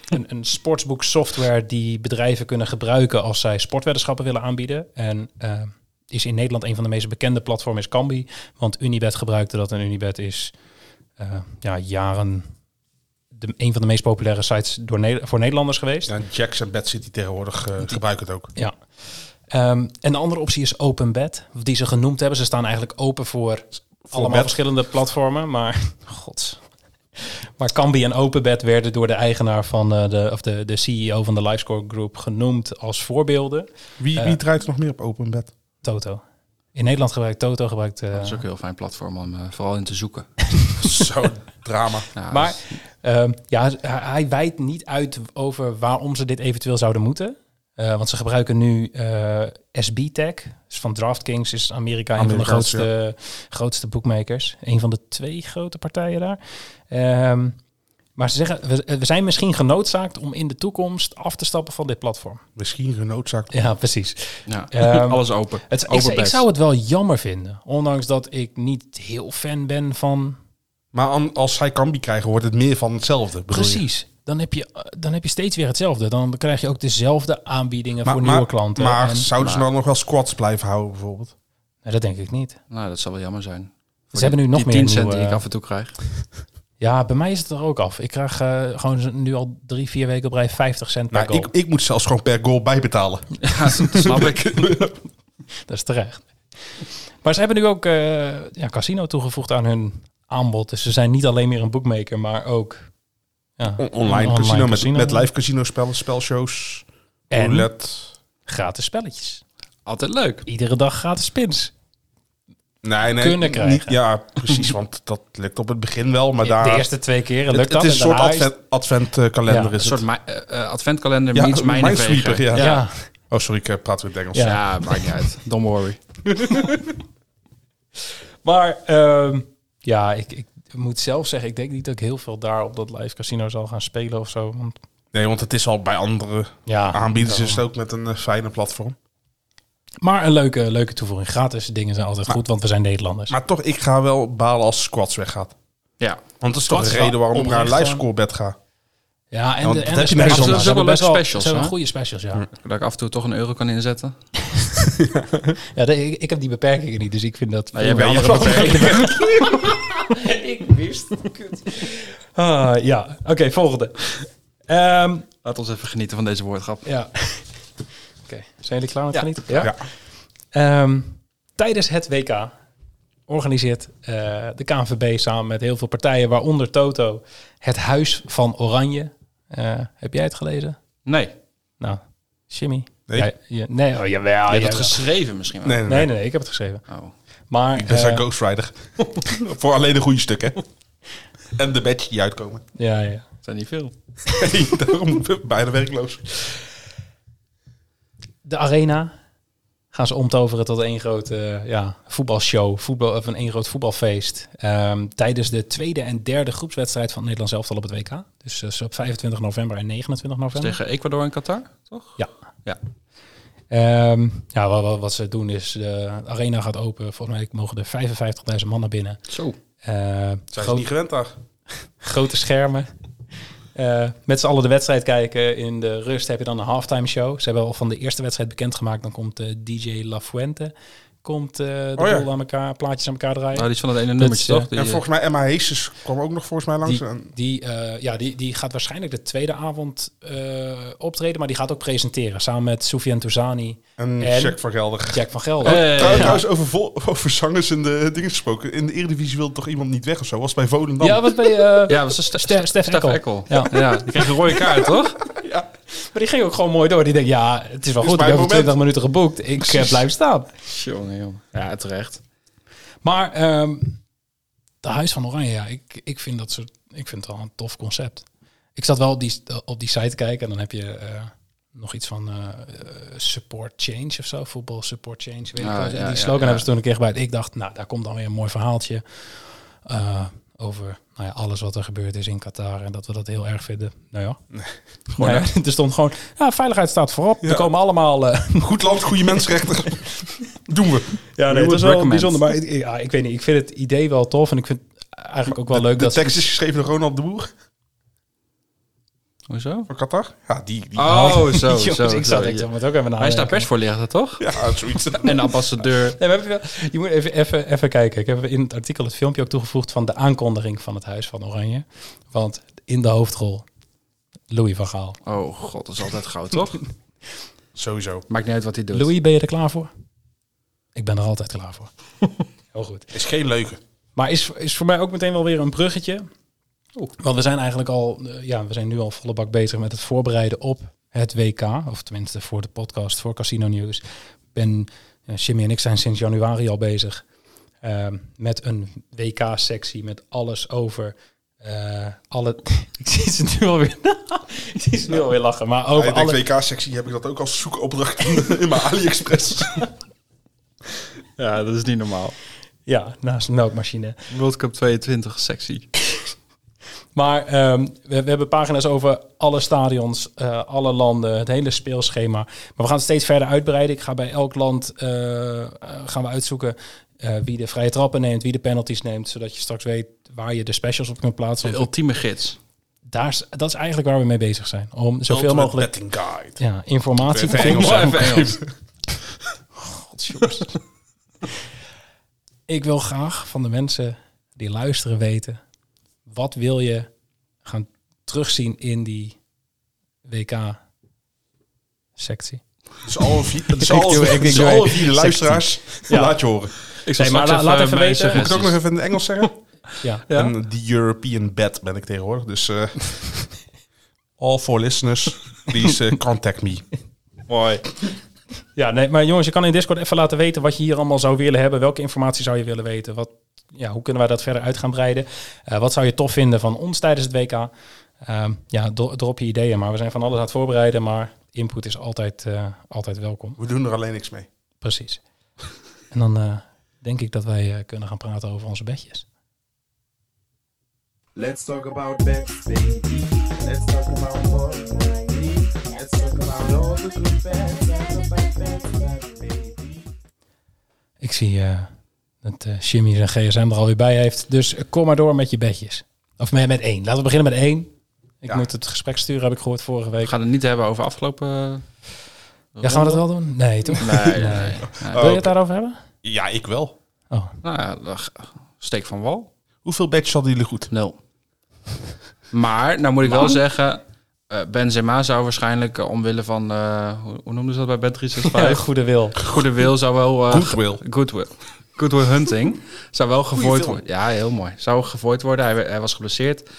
Speaker 1: een, een sportsboek software die bedrijven kunnen gebruiken als zij sportweddenschappen willen aanbieden. En eh, is in Nederland een van de meest bekende platformen is Kambi, want Unibet gebruikte dat en Unibet is eh, ja, jaren de, een van de meest populaire sites door Ne- voor Nederlanders geweest.
Speaker 6: Ja, Jacks en Bad City tegenwoordig eh, gebruiken het ook.
Speaker 1: Ja. Ehm, en de andere optie is Open Bed, die ze genoemd hebben. Ze staan eigenlijk open voor, allemaal
Speaker 6: bed.
Speaker 1: verschillende platformen, maar god. Maar Cambi en Open Bed werden door de eigenaar van eh, de, of de, de CEO van de Livescore Group genoemd als voorbeelden.
Speaker 6: Wie, wie draait er nog meer op open bed?
Speaker 1: Toto. In Nederland gebruikt Toto gebruikt. eh,
Speaker 7: Dat is ook een heel fijn platform om eh, vooral in te zoeken.
Speaker 6: Zo drama.
Speaker 7: Nou,
Speaker 1: maar ehm, ja, hij- hij wijdt niet uit over waarom ze dit eventueel zouden moeten. Eh, want ze gebruiken nu eh, SB Tech. Dus van DraftKings is Amerika een van de
Speaker 6: Amerikaans, ja.
Speaker 1: grootste, grootste boekmakers. Een van de twee grote partijen daar. Ehm, maar ze zeggen, we, we zijn misschien genoodzaakt om in de toekomst af te stappen van dit platform.
Speaker 6: Misschien genoodzaakt.
Speaker 1: Ja, precies.
Speaker 7: ja.
Speaker 1: Ehm,
Speaker 7: alles open.
Speaker 1: Het, ik,
Speaker 7: Open
Speaker 1: zou- ik
Speaker 7: bed.
Speaker 1: zou het wel jammer vinden. Ondanks dat ik niet heel fan ben van
Speaker 6: Maar an- als zij Kambi krijgen, wordt het meer van hetzelfde. bedoel je?
Speaker 1: Precies. Dan heb, je, eh, dan heb je steeds weer hetzelfde. Dan krijg je ook dezelfde aanbiedingen
Speaker 6: Maar,
Speaker 1: voor
Speaker 6: maar-
Speaker 1: nieuwe klanten.
Speaker 6: Maar
Speaker 1: En-
Speaker 6: zouden ze dan nog wel squats blijven houden bijvoorbeeld?
Speaker 1: Nee, dat denk ik niet.
Speaker 7: Nou, dat zal wel jammer zijn.
Speaker 1: Ze hebben nu nog
Speaker 7: die
Speaker 1: meer eh,
Speaker 7: 10 cent
Speaker 1: nieuwe-
Speaker 7: die ik af en toe krijg.
Speaker 1: Ja, bij mij is het er ook af. Ik krijg eh, gewoon z- nu al drie, vier weken op rij 50 cent per
Speaker 6: Nou,
Speaker 1: goal.
Speaker 6: ik, ik moet zelfs gewoon per goal bijbetalen.
Speaker 7: Ja, snap ik.
Speaker 1: Dat is terecht. Maar ze hebben nu ook eh, ja, casino toegevoegd aan hun aanbod. Dus ze zijn niet alleen meer een boekmaker, maar ook... Ja,
Speaker 6: On-
Speaker 1: een
Speaker 6: online, casino, met-
Speaker 1: casino.
Speaker 6: Met, live casino spellen, spelshows,
Speaker 1: En?
Speaker 6: roulette.
Speaker 1: Gratis spelletjes.
Speaker 7: Altijd leuk.
Speaker 1: Iedere dag gratis spins.
Speaker 6: Nee, nee,
Speaker 1: Kunnen krijgen.
Speaker 6: ja, precies, want dat lukt op het begin wel, maar daar...
Speaker 1: De eerste twee keren
Speaker 6: het,
Speaker 1: lukt
Speaker 6: het
Speaker 1: dat.
Speaker 6: is
Speaker 1: en
Speaker 6: een soort
Speaker 1: daarna is-
Speaker 6: advent,
Speaker 1: Ja,
Speaker 6: adventkalender is
Speaker 7: Een
Speaker 6: het.
Speaker 7: soort mi- eh, eh, adventkalender
Speaker 6: ja,
Speaker 7: meets mijnenveger.
Speaker 6: Minesweeper, ja.
Speaker 1: ja,
Speaker 6: Oh, sorry, ik eh, praat weer in het
Speaker 1: Ja.
Speaker 6: Engels.
Speaker 7: Ja, maakt niet uit. Don't worry.
Speaker 1: Maar ehm, ja, ik, ik moet zelf zeggen, ik denk niet dat ik heel veel daar op dat live casino zal gaan spelen of zo. Want
Speaker 6: Nee, want het is al bij andere
Speaker 1: ja,
Speaker 6: aanbieders is het ook met een eh, fijne platform.
Speaker 1: Maar een leuke, leuke toevoeging. Gratis dingen zijn altijd goed, want we zijn Nederlanders.
Speaker 6: Maar toch, ik ga wel balen als squats weggaat.
Speaker 7: Ja.
Speaker 6: Want dat is toch de
Speaker 1: Squats
Speaker 6: reden waarom ik naar
Speaker 1: oprecht eh,
Speaker 6: een live
Speaker 1: gewoon.
Speaker 6: score bed ga.
Speaker 1: ja, en
Speaker 6: want
Speaker 1: de,
Speaker 6: dat
Speaker 1: en
Speaker 6: heb
Speaker 1: de
Speaker 6: je meestal
Speaker 1: specials.
Speaker 6: wel.
Speaker 1: Ze
Speaker 7: Ze hebben
Speaker 1: best
Speaker 7: leuke
Speaker 1: wel-
Speaker 7: specials,
Speaker 1: Ze hebben
Speaker 7: hè?
Speaker 1: goede specials, ja.
Speaker 7: Dat ik af en toe toch een euro kan inzetten.
Speaker 1: ja de- ik, ik heb die beperkingen niet, dus ik vind dat...
Speaker 7: Nou, jij bent
Speaker 1: andere beperkingen. ik wist het. Kut. Ah, ja, oké, volgende. Ehm,
Speaker 7: Laat ons even genieten van deze woordgrap.
Speaker 1: ja. Oké, zijn jullie klaar met
Speaker 7: Ja.
Speaker 1: genieten? Ja. Ehm, tijdens het WK organiseert eh, de KNVB samen met heel veel partijen, waaronder Toto, het Huis van Oranje. Eh, heb jij het gelezen?
Speaker 7: Nee.
Speaker 1: Nou, Jimmy.
Speaker 6: Nee.
Speaker 1: Ja, je- nee, oh, jawel.
Speaker 7: Je hebt
Speaker 1: jawel.
Speaker 7: het geschreven misschien wel.
Speaker 6: Nee, nee, nee.
Speaker 1: nee, nee, nee, ik heb het geschreven.
Speaker 7: Oh.
Speaker 1: Maar
Speaker 6: Ik ben zijn
Speaker 1: eh,
Speaker 6: Ghost Rider. Voor alleen de goede stukken. En de badge die uitkomen.
Speaker 1: ja, ja.
Speaker 7: Het zijn niet veel.
Speaker 6: Hey, daarom ben ik bijna werkloos.
Speaker 1: de arena gaan ze omtoveren tot één grote eh, ja, voetbalshow, voetbal, of een één groot voetbalfeest. Ehm, tijdens de tweede en derde groepswedstrijd van het Nederlands elftal op het WK. Dus eh, op 25 november en 29
Speaker 7: Dat
Speaker 1: november.
Speaker 7: is tegen Ecuador en Qatar, toch?
Speaker 1: Ja.
Speaker 7: Ja.
Speaker 1: Ehm, ja, wat, wat, wat ze doen is, de arena gaat open. Volgens mij mogen er 55.000 man naar binnen.
Speaker 7: Zo.
Speaker 1: Eh,
Speaker 6: Zijn ze
Speaker 1: groot-
Speaker 6: niet gewend daar?
Speaker 1: grote schermen. Eh, met z'n allen de wedstrijd kijken. In de rust heb je dan een halftime show. Ze hebben al van de eerste wedstrijd bekendgemaakt. Dan komt eh, DJ La Fuente. Komt eh, de
Speaker 6: Oh ja.
Speaker 1: bol aan elkaar, plaatjes aan elkaar draaien.
Speaker 7: Nou, die is van dat ene nummertje,
Speaker 1: eh,
Speaker 7: toch? Die,
Speaker 6: En
Speaker 7: eh,
Speaker 6: volgens mij Emma Heesjes kwam ook nog volgens mij langs.
Speaker 1: Die,
Speaker 6: En-
Speaker 1: die, eh, ja, die, die gaat waarschijnlijk de tweede avond eh, optreden, maar die gaat ook presenteren. Samen met Soufiane Touzani,
Speaker 6: en
Speaker 1: en-
Speaker 6: Jack van Gelder.
Speaker 1: Jack van Gelder.
Speaker 7: Hey.
Speaker 6: Trouw-
Speaker 7: Ja.
Speaker 6: Oh, eh, Trouwens, over, vol- over zangers en de dingen gesproken. In de Eredivisie wilde toch iemand niet weg of zo? Was bij Volendam.
Speaker 1: Ja, wat ben je... eh,
Speaker 7: Ja, was dat Ste-
Speaker 1: Stef- Stef Ekkel. Ja.
Speaker 7: Ja. ja, die kreeg een rode kaart, toch?
Speaker 1: Maar die ging ook gewoon mooi door. Die denkt, ja, het is wel
Speaker 6: Dit is
Speaker 1: goed. Ik
Speaker 6: mijn
Speaker 1: heb voor
Speaker 6: moment.
Speaker 1: 20 minuten geboekt. Ik eh,
Speaker 6: Precies.
Speaker 1: blijf staan.
Speaker 7: Jongen, jongen. Ja, terecht.
Speaker 1: Maar ehm, de Huis van Oranje, ja, ik, ik vind dat soort, ik vind het wel een tof concept. Ik zat wel op die, op die site te kijken en dan heb je eh, nog iets van eh, eh, support change of zo, voetbal support change. Weet ik
Speaker 7: Ah,
Speaker 1: wel. En
Speaker 7: ja, ja,
Speaker 1: die slogan
Speaker 7: ja.
Speaker 1: hebben ze toen een keer gebruikt. Ik dacht, nou, daar komt dan weer een mooi verhaaltje eh, over nou ja, alles wat er gebeurd is in Qatar en dat we dat heel erg vinden. Nou ja, gewoon, hè, er stond gewoon, ja, veiligheid staat voorop.
Speaker 6: Ja.
Speaker 1: Er komen allemaal eh,
Speaker 6: Goed land, goede mensenrechten. Doen we.
Speaker 1: Ja,
Speaker 7: You
Speaker 1: nee, het
Speaker 7: would
Speaker 1: is wel
Speaker 7: recommend.
Speaker 1: bijzonder. Maar ik- ja, ik weet niet, ik vind het idee wel tof. En ik vind het eigenlijk ook wel leuk
Speaker 6: de
Speaker 1: dat...
Speaker 6: tekst is geschreven door Ronald de Boer.
Speaker 7: Hoezo?
Speaker 6: Van Qatar? Ja, die. die
Speaker 1: Ah.
Speaker 7: Oh, zo,
Speaker 1: Jongens,
Speaker 7: zo.
Speaker 1: ik
Speaker 7: zo,
Speaker 1: zat ik
Speaker 7: ja.
Speaker 1: zal het ook even naar.
Speaker 7: Hij is daar persvoorlichter, toch?
Speaker 6: Ja, zoiets.
Speaker 7: En ambassadeur.
Speaker 1: Nee, maar heb je, wel- je moet even, even, even kijken. Ik heb in het artikel het filmpje ook toegevoegd van de aankondiging van het Huis van Oranje. Want in de hoofdrol, Louis van Gaal.
Speaker 7: Oh god, dat is altijd goud, toch?
Speaker 6: Sowieso.
Speaker 7: Maakt niet uit wat hij doet.
Speaker 1: Louis, ben je er klaar voor? Ik ben er altijd klaar voor. Heel goed.
Speaker 6: Is geen leuke.
Speaker 1: Maar is, is voor mij ook meteen wel weer een bruggetje. Want we zijn eigenlijk al, eh, ja, we zijn nu al volle bak bezig met het voorbereiden op het WK. Of tenminste voor de podcast, voor Casino News. Ben, eh, Jimmy en ik zijn sinds januari al bezig eh, met een WK-sectie met alles over eh, alle... ik zie ze nu alweer, ik zie ze nu alweer lachen, maar over
Speaker 6: Bij
Speaker 1: alle...
Speaker 6: de WK-sectie heb ik dat ook als zoekopdracht in, in mijn AliExpress.
Speaker 7: Ja, dat is niet normaal.
Speaker 1: Ja, naast de melkmachine.
Speaker 7: World Cup 22, sexy.
Speaker 1: Maar ehm, we, we hebben pagina's over alle stadions, eh, alle landen, het hele speelschema. Maar we gaan het steeds verder uitbreiden. Ik ga bij elk land eh, eh, gaan we uitzoeken eh, wie de vrije trappen neemt, wie de penalties neemt, zodat je straks weet waar je de specials op kunt plaatsen.
Speaker 7: De ultieme gids.
Speaker 1: Daar is, dat is eigenlijk waar we mee bezig zijn. Om zoveel
Speaker 6: Ultimate
Speaker 1: mogelijk
Speaker 6: Betting Guide.
Speaker 1: ja, informatie te
Speaker 6: Even
Speaker 1: geven.
Speaker 6: Engels,
Speaker 7: Mooi,
Speaker 6: hè?
Speaker 7: even Engels.
Speaker 1: Ik wil graag van de mensen die luisteren weten, wat wil je gaan terugzien in die WK-sectie?
Speaker 6: Dus alle vier, dus
Speaker 1: Ik
Speaker 6: alle,
Speaker 1: doe- ik- ik
Speaker 6: dus
Speaker 1: doe-
Speaker 6: alle vier de luisteraars,
Speaker 1: Ja.
Speaker 6: laat je horen.
Speaker 7: Ik zal
Speaker 1: Nee, maar
Speaker 7: straks eh,
Speaker 1: la- laat even
Speaker 7: mijn
Speaker 1: weten.
Speaker 6: Moet ik
Speaker 7: suggesties.
Speaker 6: het ook nog even in het Engels zeggen?
Speaker 1: Ja.
Speaker 7: Ja.
Speaker 6: En die European bed ben ik tegenwoordig. Dus eh all for listeners, please eh, contact me. Mooi.
Speaker 1: Ja, nee, maar jongens, je kan in Discord even laten weten wat je hier allemaal zou willen hebben. Welke informatie zou je willen weten? Wat, ja, hoe kunnen wij dat verder uit gaan breiden? Eh, wat zou je tof vinden van ons tijdens het WK? Ehm, ja, dro- drop je ideeën, maar we zijn van alles aan het voorbereiden. Maar input is altijd, eh, altijd welkom.
Speaker 6: We doen er alleen niks mee.
Speaker 1: Precies. En dan eh, denk ik dat wij eh, kunnen gaan praten over onze bedjes.
Speaker 9: Let's talk about bets, baby. Let's talk about balls, baby. Let's talk about all the good bets. Let's talk about bets, baby.
Speaker 1: Ik zie eh, dat eh, Jimmy zijn gsm er alweer bij heeft. Dus eh, kom maar door met je bedjes. Of met, met één. Laten we beginnen met één. Ik
Speaker 6: Ja.
Speaker 1: moet het gesprek sturen, heb ik gehoord vorige week.
Speaker 7: We gaan het niet hebben over afgelopen...
Speaker 1: Ja, gaan we dat wel doen? Nee, toch?
Speaker 7: Nee, nee.
Speaker 1: Wil je het daarover hebben?
Speaker 6: Ja, ik wel.
Speaker 1: Oh,
Speaker 7: Nou ja, dag. steek van wal.
Speaker 6: Hoeveel badges hadden jullie goed?
Speaker 7: Nul. Maar, nou moet ik wel zeggen... eh, Benzema zou waarschijnlijk eh, omwille van... eh, hoe, hoe noemden ze dat bij Bet365?
Speaker 1: goede wil.
Speaker 7: Goede wil zou wel... eh,
Speaker 6: Goodwill.
Speaker 7: Goodwill. Goodwill Hunting. Zou wel gevooid worden. Ja, heel mooi. Zou gevooid worden. Hij, hij was geblesseerd.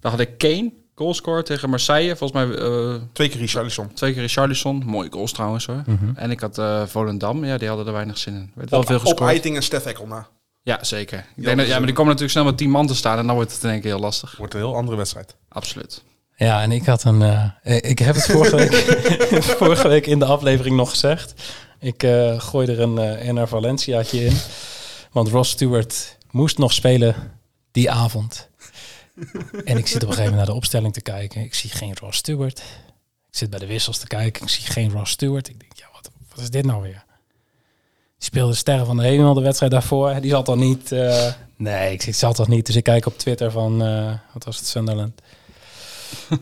Speaker 7: Dan had ik Kane, goalscorer tegen Marseille. Volgens mij eh,
Speaker 6: Twee keer Richarlison.
Speaker 7: twee keer Richarlison. Mooie goals trouwens hoor. En ik had eh, Volendam. Ja, die hadden er weinig zin in. Werd wel veel
Speaker 6: Mhm. Op eh.
Speaker 7: gescoord.
Speaker 6: Eiting en Stef Ekkelna.
Speaker 7: Ja, zeker. Ik denk
Speaker 6: dat
Speaker 7: dat,
Speaker 6: is
Speaker 7: ja, maar
Speaker 6: een-
Speaker 7: die komen natuurlijk snel met tien man te staan. En dan wordt het in één keer heel lastig.
Speaker 6: Wordt een heel andere wedstrijd.
Speaker 7: Absoluut.
Speaker 1: Ja, en ik had een. eh, eh, ik heb het vorige week, vorige week in de aflevering nog gezegd. Ik eh, gooi er een eh NR Valenciaatje in. Want Ross Stewart moest nog spelen die avond. En ik zit op een gegeven moment naar de opstelling te kijken. Ik zie geen Ross Stewart. Ik zit bij de wissels te kijken. Ik zie geen Ross Stewart. Ik denk, ja, wat, wat is dit nou weer? Die speelde Sterren van de Hemel de wedstrijd daarvoor. Die zat al niet. eh, nee, ik, ik zat al niet. Dus ik kijk op Twitter van. eh, wat was het, Sunderland?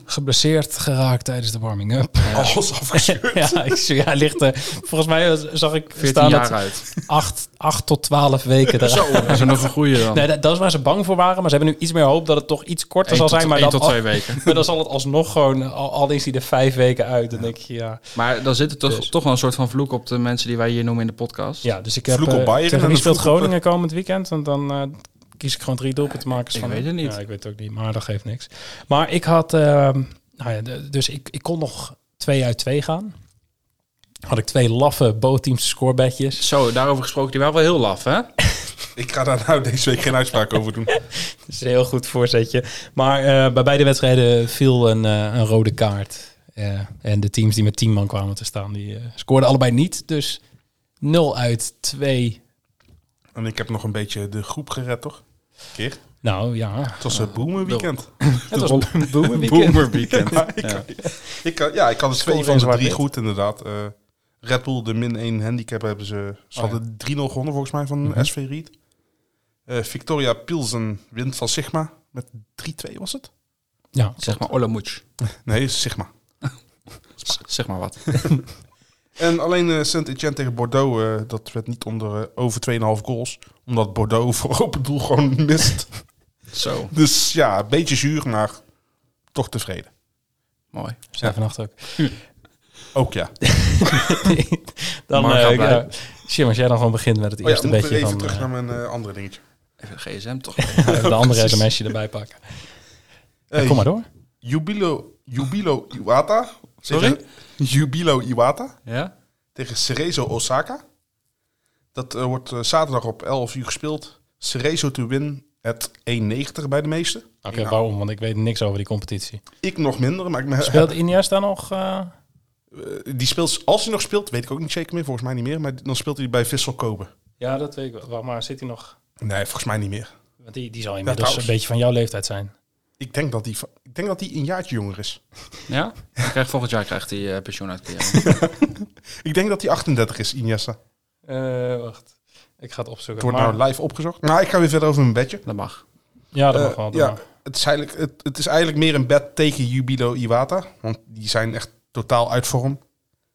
Speaker 1: geblesseerd geraakt tijdens de warming-up.
Speaker 6: Alles afgescheurd.
Speaker 1: Ja, ik, zie- ja, hij ligt er. Volgens mij zag ik
Speaker 7: 14
Speaker 1: staan
Speaker 7: jaar
Speaker 1: dat
Speaker 7: uit.
Speaker 1: 8, 8 tot 12 weken eruit.
Speaker 7: Zo, dat is er nog een goede dan.
Speaker 1: Nee, dat, dat is waar ze bang voor waren. Maar ze hebben nu iets meer hoop dat het toch iets korter
Speaker 7: Eén
Speaker 1: zal
Speaker 7: tot,
Speaker 1: zijn. Maar
Speaker 7: één
Speaker 1: dan,
Speaker 7: tot
Speaker 1: al-
Speaker 7: twee weken.
Speaker 1: maar dan zal het alsnog gewoon, al, al is hij er vijf weken uit. Dan denk je, ja.
Speaker 7: Maar dan zit er toch,
Speaker 1: Dus.
Speaker 7: toch wel een soort van vloek op de mensen die wij hier noemen in de podcast.
Speaker 1: ja dus ik heb...
Speaker 6: Vloek op
Speaker 1: eh,
Speaker 6: Bayern en
Speaker 1: tegen
Speaker 6: een
Speaker 1: wie speelt
Speaker 6: vloek op-
Speaker 1: Groningen komend weekend? Want dan eh, kies ik gewoon drie doelpunten maken.
Speaker 7: ik
Speaker 1: van
Speaker 7: weet
Speaker 1: hem.
Speaker 7: het niet.
Speaker 1: Ja, ik weet het ook niet. Maar dat geeft niks. Maar ik had... ehm, nou ja, de- dus ik, ik kon nog twee uit twee gaan. Had ik twee laffe bootteams scorebedjes.
Speaker 7: Zo, daarover gesproken, die waren wel heel laf, hè?
Speaker 6: Ik ga daar nou deze week geen uitspraak over doen.
Speaker 1: Dat is een heel goed voorzetje. Maar eh, bij beide wedstrijden viel een, eh, een rode kaart. Eh, en de teams die met 10 man kwamen te staan, die eh, scoorden allebei niet. Dus 0 uit 2.
Speaker 6: En ik heb nog een beetje de groep gered, toch? Keer.
Speaker 1: Nou ja,
Speaker 6: Het was een boomerweekend.
Speaker 1: het was een boemenweekend.
Speaker 7: Boomer weekend.
Speaker 6: Ja, ik, had- ik, had- ja, ik had dus twee van de
Speaker 1: zwart
Speaker 6: drie
Speaker 1: wit.
Speaker 6: goed, inderdaad. Eh, Red Bull, de min 1 handicap hebben ze.
Speaker 1: Oh,
Speaker 6: Ze hadden 3-0 gewonnen volgens mij van
Speaker 1: Mhm.
Speaker 6: SV Ried. Eh, Victoria Pilsen wint van Sigma met 3-2 was het.
Speaker 1: Ja,
Speaker 7: Zeg maar Olamuch.
Speaker 6: Nee, Sigma.
Speaker 7: Z- Zeg maar wat.
Speaker 6: En alleen eh Saint-Etienne tegen Bordeaux, eh, dat werd niet onder eh, over 2,5 goals. Omdat Bordeaux voor open doel gewoon mist.
Speaker 7: Zo,
Speaker 6: Dus ja, een beetje zuur, maar toch tevreden.
Speaker 7: mooi.
Speaker 1: zijn vannacht ook.
Speaker 6: Ook ja. Oh
Speaker 1: Dan,
Speaker 7: Maar ga
Speaker 1: eh
Speaker 7: blij.
Speaker 1: ja, Jim, als jij dan gewoon begint met het
Speaker 6: Oh ja,
Speaker 1: eerste
Speaker 6: moeten we
Speaker 1: beetje
Speaker 6: even
Speaker 1: van eh,
Speaker 6: terug naar mijn eh, andere dingetje.
Speaker 7: Even de gsm toch.
Speaker 1: de andere sms'je erbij pakken.
Speaker 6: Eh,
Speaker 1: Kom maar door.
Speaker 6: Jubilo, Jubilo Iwata.
Speaker 7: Sorry?
Speaker 6: Tegen- Jubilo Iwata
Speaker 7: Ja?
Speaker 6: tegen Cerezo Osaka. Dat eh, wordt eh, zaterdag op 11 uur gespeeld. Cerezo to win at 1,90 bij de meesten.
Speaker 1: Oké,
Speaker 6: Nou,
Speaker 1: waarom? Want ik weet niks over die competitie.
Speaker 6: Ik nog minder, maar ik me,
Speaker 1: Speelt Iniesta nog? eh,
Speaker 6: eh, die speelt, als hij nog speelt, weet ik ook niet zeker meer. Volgens mij niet meer. Maar dan speelt hij bij Vissel Kobe.
Speaker 1: Ja, dat weet ik wel. Maar zit hij nog?
Speaker 6: Nee, volgens mij niet meer.
Speaker 1: Want die, die zal inmiddels
Speaker 6: trouwens.
Speaker 1: een beetje van jouw leeftijd zijn.
Speaker 6: Ik denk dat hij, va- ik denk dat hij een jaartje jonger is.
Speaker 7: Ja? Hij krijgt, volgend jaar krijgt hij eh pensioenuitkering.
Speaker 6: Ik denk dat hij 38 is, Iniesta. Het
Speaker 1: Eh, wacht. Ik ga het opzoeken.
Speaker 6: wordt
Speaker 1: Maar-
Speaker 6: nou live opgezocht. Nou, ik ga weer verder over mijn bedje.
Speaker 7: Dat mag.
Speaker 1: ja, dat mag
Speaker 6: Eh,
Speaker 1: wel.
Speaker 6: ja,
Speaker 1: Ja.
Speaker 6: het is, eigenlijk, het, het is eigenlijk meer een bed tegen Jubilo Iwata. Want die zijn echt totaal uit vorm.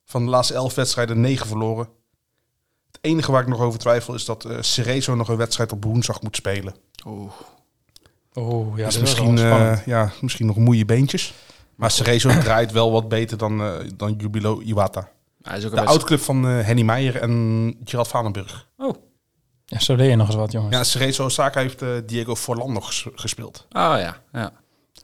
Speaker 6: Van de laatste elf wedstrijden negen verloren. Het enige waar ik nog over twijfel is dat eh Cerezo nog een wedstrijd op woensdag moet spelen.
Speaker 7: Oeh.
Speaker 1: Oeh, ja,
Speaker 6: dus
Speaker 1: dat
Speaker 6: misschien,
Speaker 1: is wel spannend.
Speaker 6: eh, ja, misschien nog moeie beentjes. Maar Cerezo draait wel wat beter dan, eh, dan Jubilo Iwata.
Speaker 7: Hij is ook een
Speaker 6: De
Speaker 7: best- Oh.
Speaker 6: oudclub van eh, Henny Meijer en Gerard Vanenburg.
Speaker 1: Ja, zo leer je nog eens wat, jongens.
Speaker 6: Ja, Cerezo Osaka heeft eh, Diego Forlan nog ges- gespeeld.
Speaker 7: Ah ja, ja.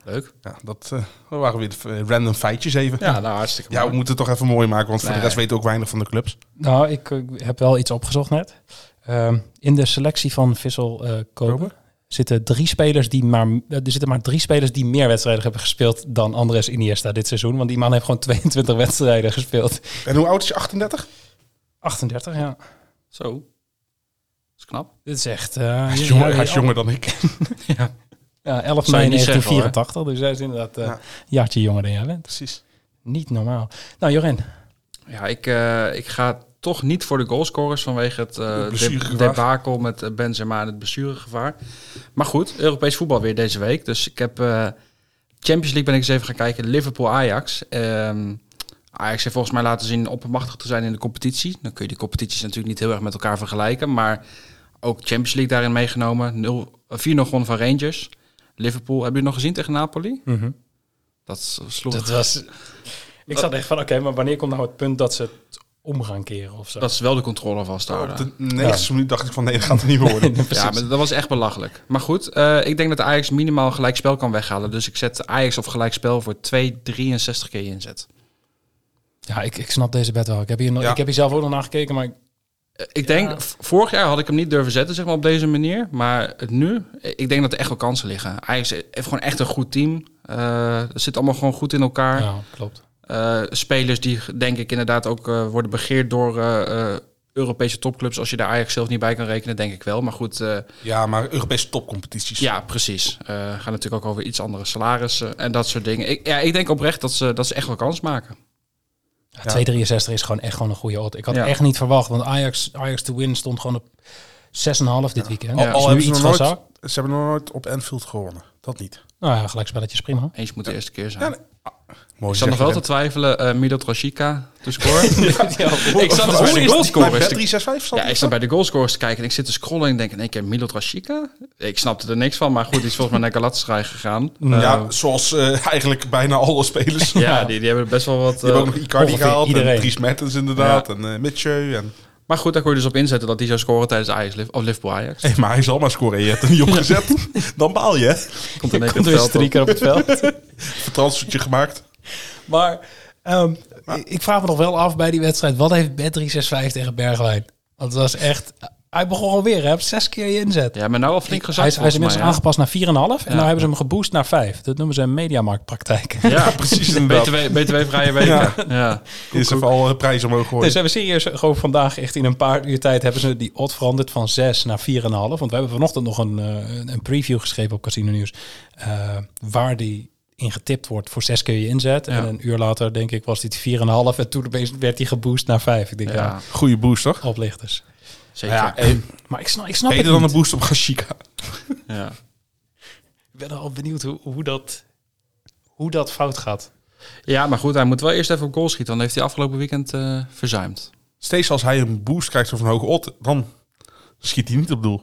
Speaker 7: Leuk.
Speaker 6: Ja, dat, eh, dat waren weer de, eh, random feitjes even.
Speaker 7: Ja, nou hartstikke
Speaker 6: Ja,
Speaker 7: mooi.
Speaker 6: we moeten het toch even mooi maken, want voor
Speaker 7: Nee.
Speaker 6: de rest weten we ook weinig van de clubs.
Speaker 1: Nou, ik eh, heb wel iets opgezocht net. Ehm, in de selectie van Vissel eh Kopen zitten drie spelers die maar eh, er zitten maar drie spelers die meer wedstrijden hebben gespeeld dan Andres Iniesta dit seizoen, want die man heeft gewoon 22 wedstrijden gespeeld.
Speaker 6: En hoe oud is je? 38?
Speaker 1: 38, ja.
Speaker 7: Zo. Dat is knap.
Speaker 1: Dit is echt. eh,
Speaker 6: Hij is,
Speaker 1: ja,
Speaker 6: jonger,
Speaker 1: ja,
Speaker 6: hij is jonger dan ik.
Speaker 1: Ja, 11
Speaker 7: Zou
Speaker 1: mei
Speaker 7: je niet zeggen,
Speaker 1: 1984. dus hij is inderdaad eh,
Speaker 6: Ja.
Speaker 1: een jaartje jonger dan jij bent.
Speaker 6: Precies.
Speaker 1: Niet normaal. Nou, Joren,
Speaker 7: Ja, ik, eh, ik ga toch niet voor de goalscorers vanwege het eh,
Speaker 6: blessuregevaar.
Speaker 7: deb- debakel met eh, Benzema en het blessuregevaar. Maar goed, Europees voetbal weer deze week. Dus ik heb eh, Champions League ben ik eens even gaan kijken. Liverpool-Ajax. Ehm, Ajax heeft volgens mij laten zien oppermachtig te zijn in de competitie. Dan kun je die competities natuurlijk niet heel erg met elkaar vergelijken. Maar ook Champions League daarin meegenomen. 0 4-0 gewonnen van Rangers. Liverpool, hebben jullie nog gezien tegen Napoli?
Speaker 6: Mhm.
Speaker 7: Dat sloeg
Speaker 1: dat was. Ik zat echt van, oké, maar wanneer komt nou het punt dat ze het om gaan keren of zo?
Speaker 7: Dat is wel de controle vasthouden.
Speaker 6: Op de 90 minuut dacht ik van nee, dat gaat er niet meer worden.
Speaker 7: Ja, maar dat was echt belachelijk. Maar goed, eh, ik denk dat Ajax minimaal gelijk spel kan weghalen. Dus ik zet Ajax of gelijk spel voor 2,63 keer inzet.
Speaker 1: Ja, ik, ik snap deze bed wel. Ik heb, hier nog,
Speaker 6: Ja.
Speaker 1: ik heb hier zelf ook nog naar gekeken, maar ik-
Speaker 7: Eh, Ik denk, v- vorig jaar had ik hem niet durven zetten zeg maar, op deze manier. Maar het nu, eh, ik denk dat er echt wel kansen liggen. Ajax e-, heeft gewoon echt een goed team. Eh het zit allemaal gewoon goed in elkaar.
Speaker 1: ja, klopt.
Speaker 7: Eh, spelers die denk ik inderdaad ook eh, worden begeerd door eh, eh, Europese topclubs. Als je daar Ajax zelf niet bij kan rekenen, denk ik wel. Maar goed, eh,
Speaker 6: Ja, maar Europese topcompetities.
Speaker 7: Ja, precies. Eh gaan natuurlijk ook over iets andere salarissen en dat soort dingen. Ik, ja, ik denk oprecht dat ze, dat ze echt wel kans maken.
Speaker 1: Ja, 263 is gewoon echt gewoon een goede odd. Ik had
Speaker 7: Ja.
Speaker 1: echt niet verwacht, want Ajax, Ajax to win stond gewoon op 6,5 dit weekend.
Speaker 6: Al,
Speaker 7: Ja.
Speaker 6: al
Speaker 1: Is nu
Speaker 6: hebben ze,
Speaker 1: iets
Speaker 6: nog
Speaker 1: van
Speaker 6: nooit, ze hebben nog nooit op Anfield gewonnen. Dat niet.
Speaker 1: Nou ja, gelijkspelletje is prima.
Speaker 7: Eens moet de eerste keer zijn.
Speaker 6: Ja, nee. Mooi
Speaker 7: ik zat nog wel te twijfelen, eh Milot Rashica te scoren. Ik zat dus bij de goalscorers te-
Speaker 6: 365
Speaker 7: Ja, ik
Speaker 6: stond.
Speaker 7: zat bij de goalscorers te kijken en ik zit te scrollen en denk in één keer Milot Rashica? Ik snapte er niks van, maar goed, die is volgens mij naar Galatasaray gegaan.
Speaker 6: Ja,
Speaker 7: Eh,
Speaker 6: zoals eh, eigenlijk bijna alle spelers. Die
Speaker 7: ja, die, die hebben best wel wat...
Speaker 6: hebben
Speaker 7: eh,
Speaker 6: ook nog Icardi
Speaker 1: ongeveer
Speaker 6: gehaald. En
Speaker 1: iedereen.
Speaker 6: Dries Mertens inderdaad. En eh Mitchell. En...
Speaker 7: maar goed, daar kon je dus op inzetten dat die zou scoren tijdens Ajax, Liv- of Liverpool Ajax.
Speaker 6: Hey, maar hij zal maar scoren. Je hebt hem niet opgezet. Dan baal je. hè.
Speaker 7: Komt in één keer
Speaker 1: Komt
Speaker 7: het
Speaker 1: er een
Speaker 7: veld op.
Speaker 1: streaker op het veld.
Speaker 6: Vertransfertje gemaakt.
Speaker 1: maar ehm, ik- ik vraag me nog wel af bij die wedstrijd, wat heeft Bet 365 tegen Bergwijn? Want het was echt... Hij begon alweer, hè? op Zes keer je inzet.
Speaker 7: Ja, maar nou al flink gezakt
Speaker 1: Hij is, hij is
Speaker 7: volgens
Speaker 1: inmiddels
Speaker 7: mij, hè?
Speaker 1: aangepast naar 4,5 en nou hebben ze hem geboost naar 5. Dat noemen ze een mediamarktpraktijk.
Speaker 7: Ja,
Speaker 6: precies,
Speaker 7: precies.
Speaker 6: inderdaad.
Speaker 7: BTW, BTW-vrije weken.
Speaker 6: Ja.
Speaker 7: ja.
Speaker 6: Is er al prijs omhoog
Speaker 1: Nee,
Speaker 6: gooien.
Speaker 1: ze Dus hebben serieus gewoon vandaag echt in een paar uur tijd hebben ze die odd veranderd van 6 naar 4,5. Want we hebben vanochtend nog een, eh, een- een preview geschreven op Casino Nieuws. eh, waar die ingetipt wordt voor 6 keer je inzet.
Speaker 7: Ja.
Speaker 1: En een uur later denk ik was dit 4,5. En toen opeens werd die geboost naar 5. Ik denk ja,
Speaker 7: Ja,
Speaker 6: Goeie boost, toch?
Speaker 1: oplichters.
Speaker 7: zeker.
Speaker 6: Ja,
Speaker 7: Ja,
Speaker 1: Maar ik snap, ik snap het
Speaker 6: Beter dan een
Speaker 1: niet.
Speaker 6: boost op Gashika.
Speaker 1: Ik ben al benieuwd hoe, hoe dat hoe dat fout gaat.
Speaker 7: Ja, maar goed, hij moet wel eerst even op goal schieten. Dan heeft hij afgelopen weekend eh, verzuimd.
Speaker 6: Steeds als hij een boost krijgt of een hoge ot, dan schiet hij niet op doel.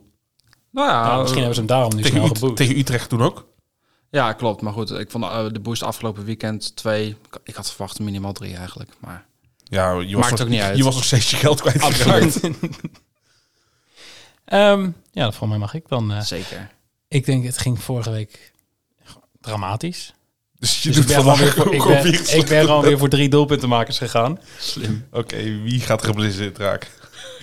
Speaker 7: Nou ja,
Speaker 1: Nou, misschien
Speaker 7: eh,
Speaker 1: hebben ze hem daarom nu
Speaker 6: Tegen,
Speaker 1: snel
Speaker 6: Ut-
Speaker 1: geboekt.
Speaker 6: tegen Utrecht toen ook.
Speaker 7: ja, klopt. Maar goed, ik vond eh, de boost afgelopen weekend twee. Ik- Ik had verwacht minimaal drie eigenlijk. Maar
Speaker 6: Ja, je was,
Speaker 7: Maakt
Speaker 6: nog,
Speaker 7: ook niet uit.
Speaker 6: Je was nog steeds je geld kwijtgeraakt.
Speaker 1: Ehm, ja, dat volgens mij mag ik dan. eh.
Speaker 7: zeker.
Speaker 1: ik denk, het ging vorige week dramatisch.
Speaker 6: Dus je
Speaker 1: Dus ik
Speaker 6: doet
Speaker 1: ben, gewoon
Speaker 6: vandaag
Speaker 1: weer
Speaker 6: weer
Speaker 1: voor, ik, ben, ik ben gewoon weer voor drie doelpuntenmakers gegaan.
Speaker 6: Oké, wie gaat er geblesseerd raken?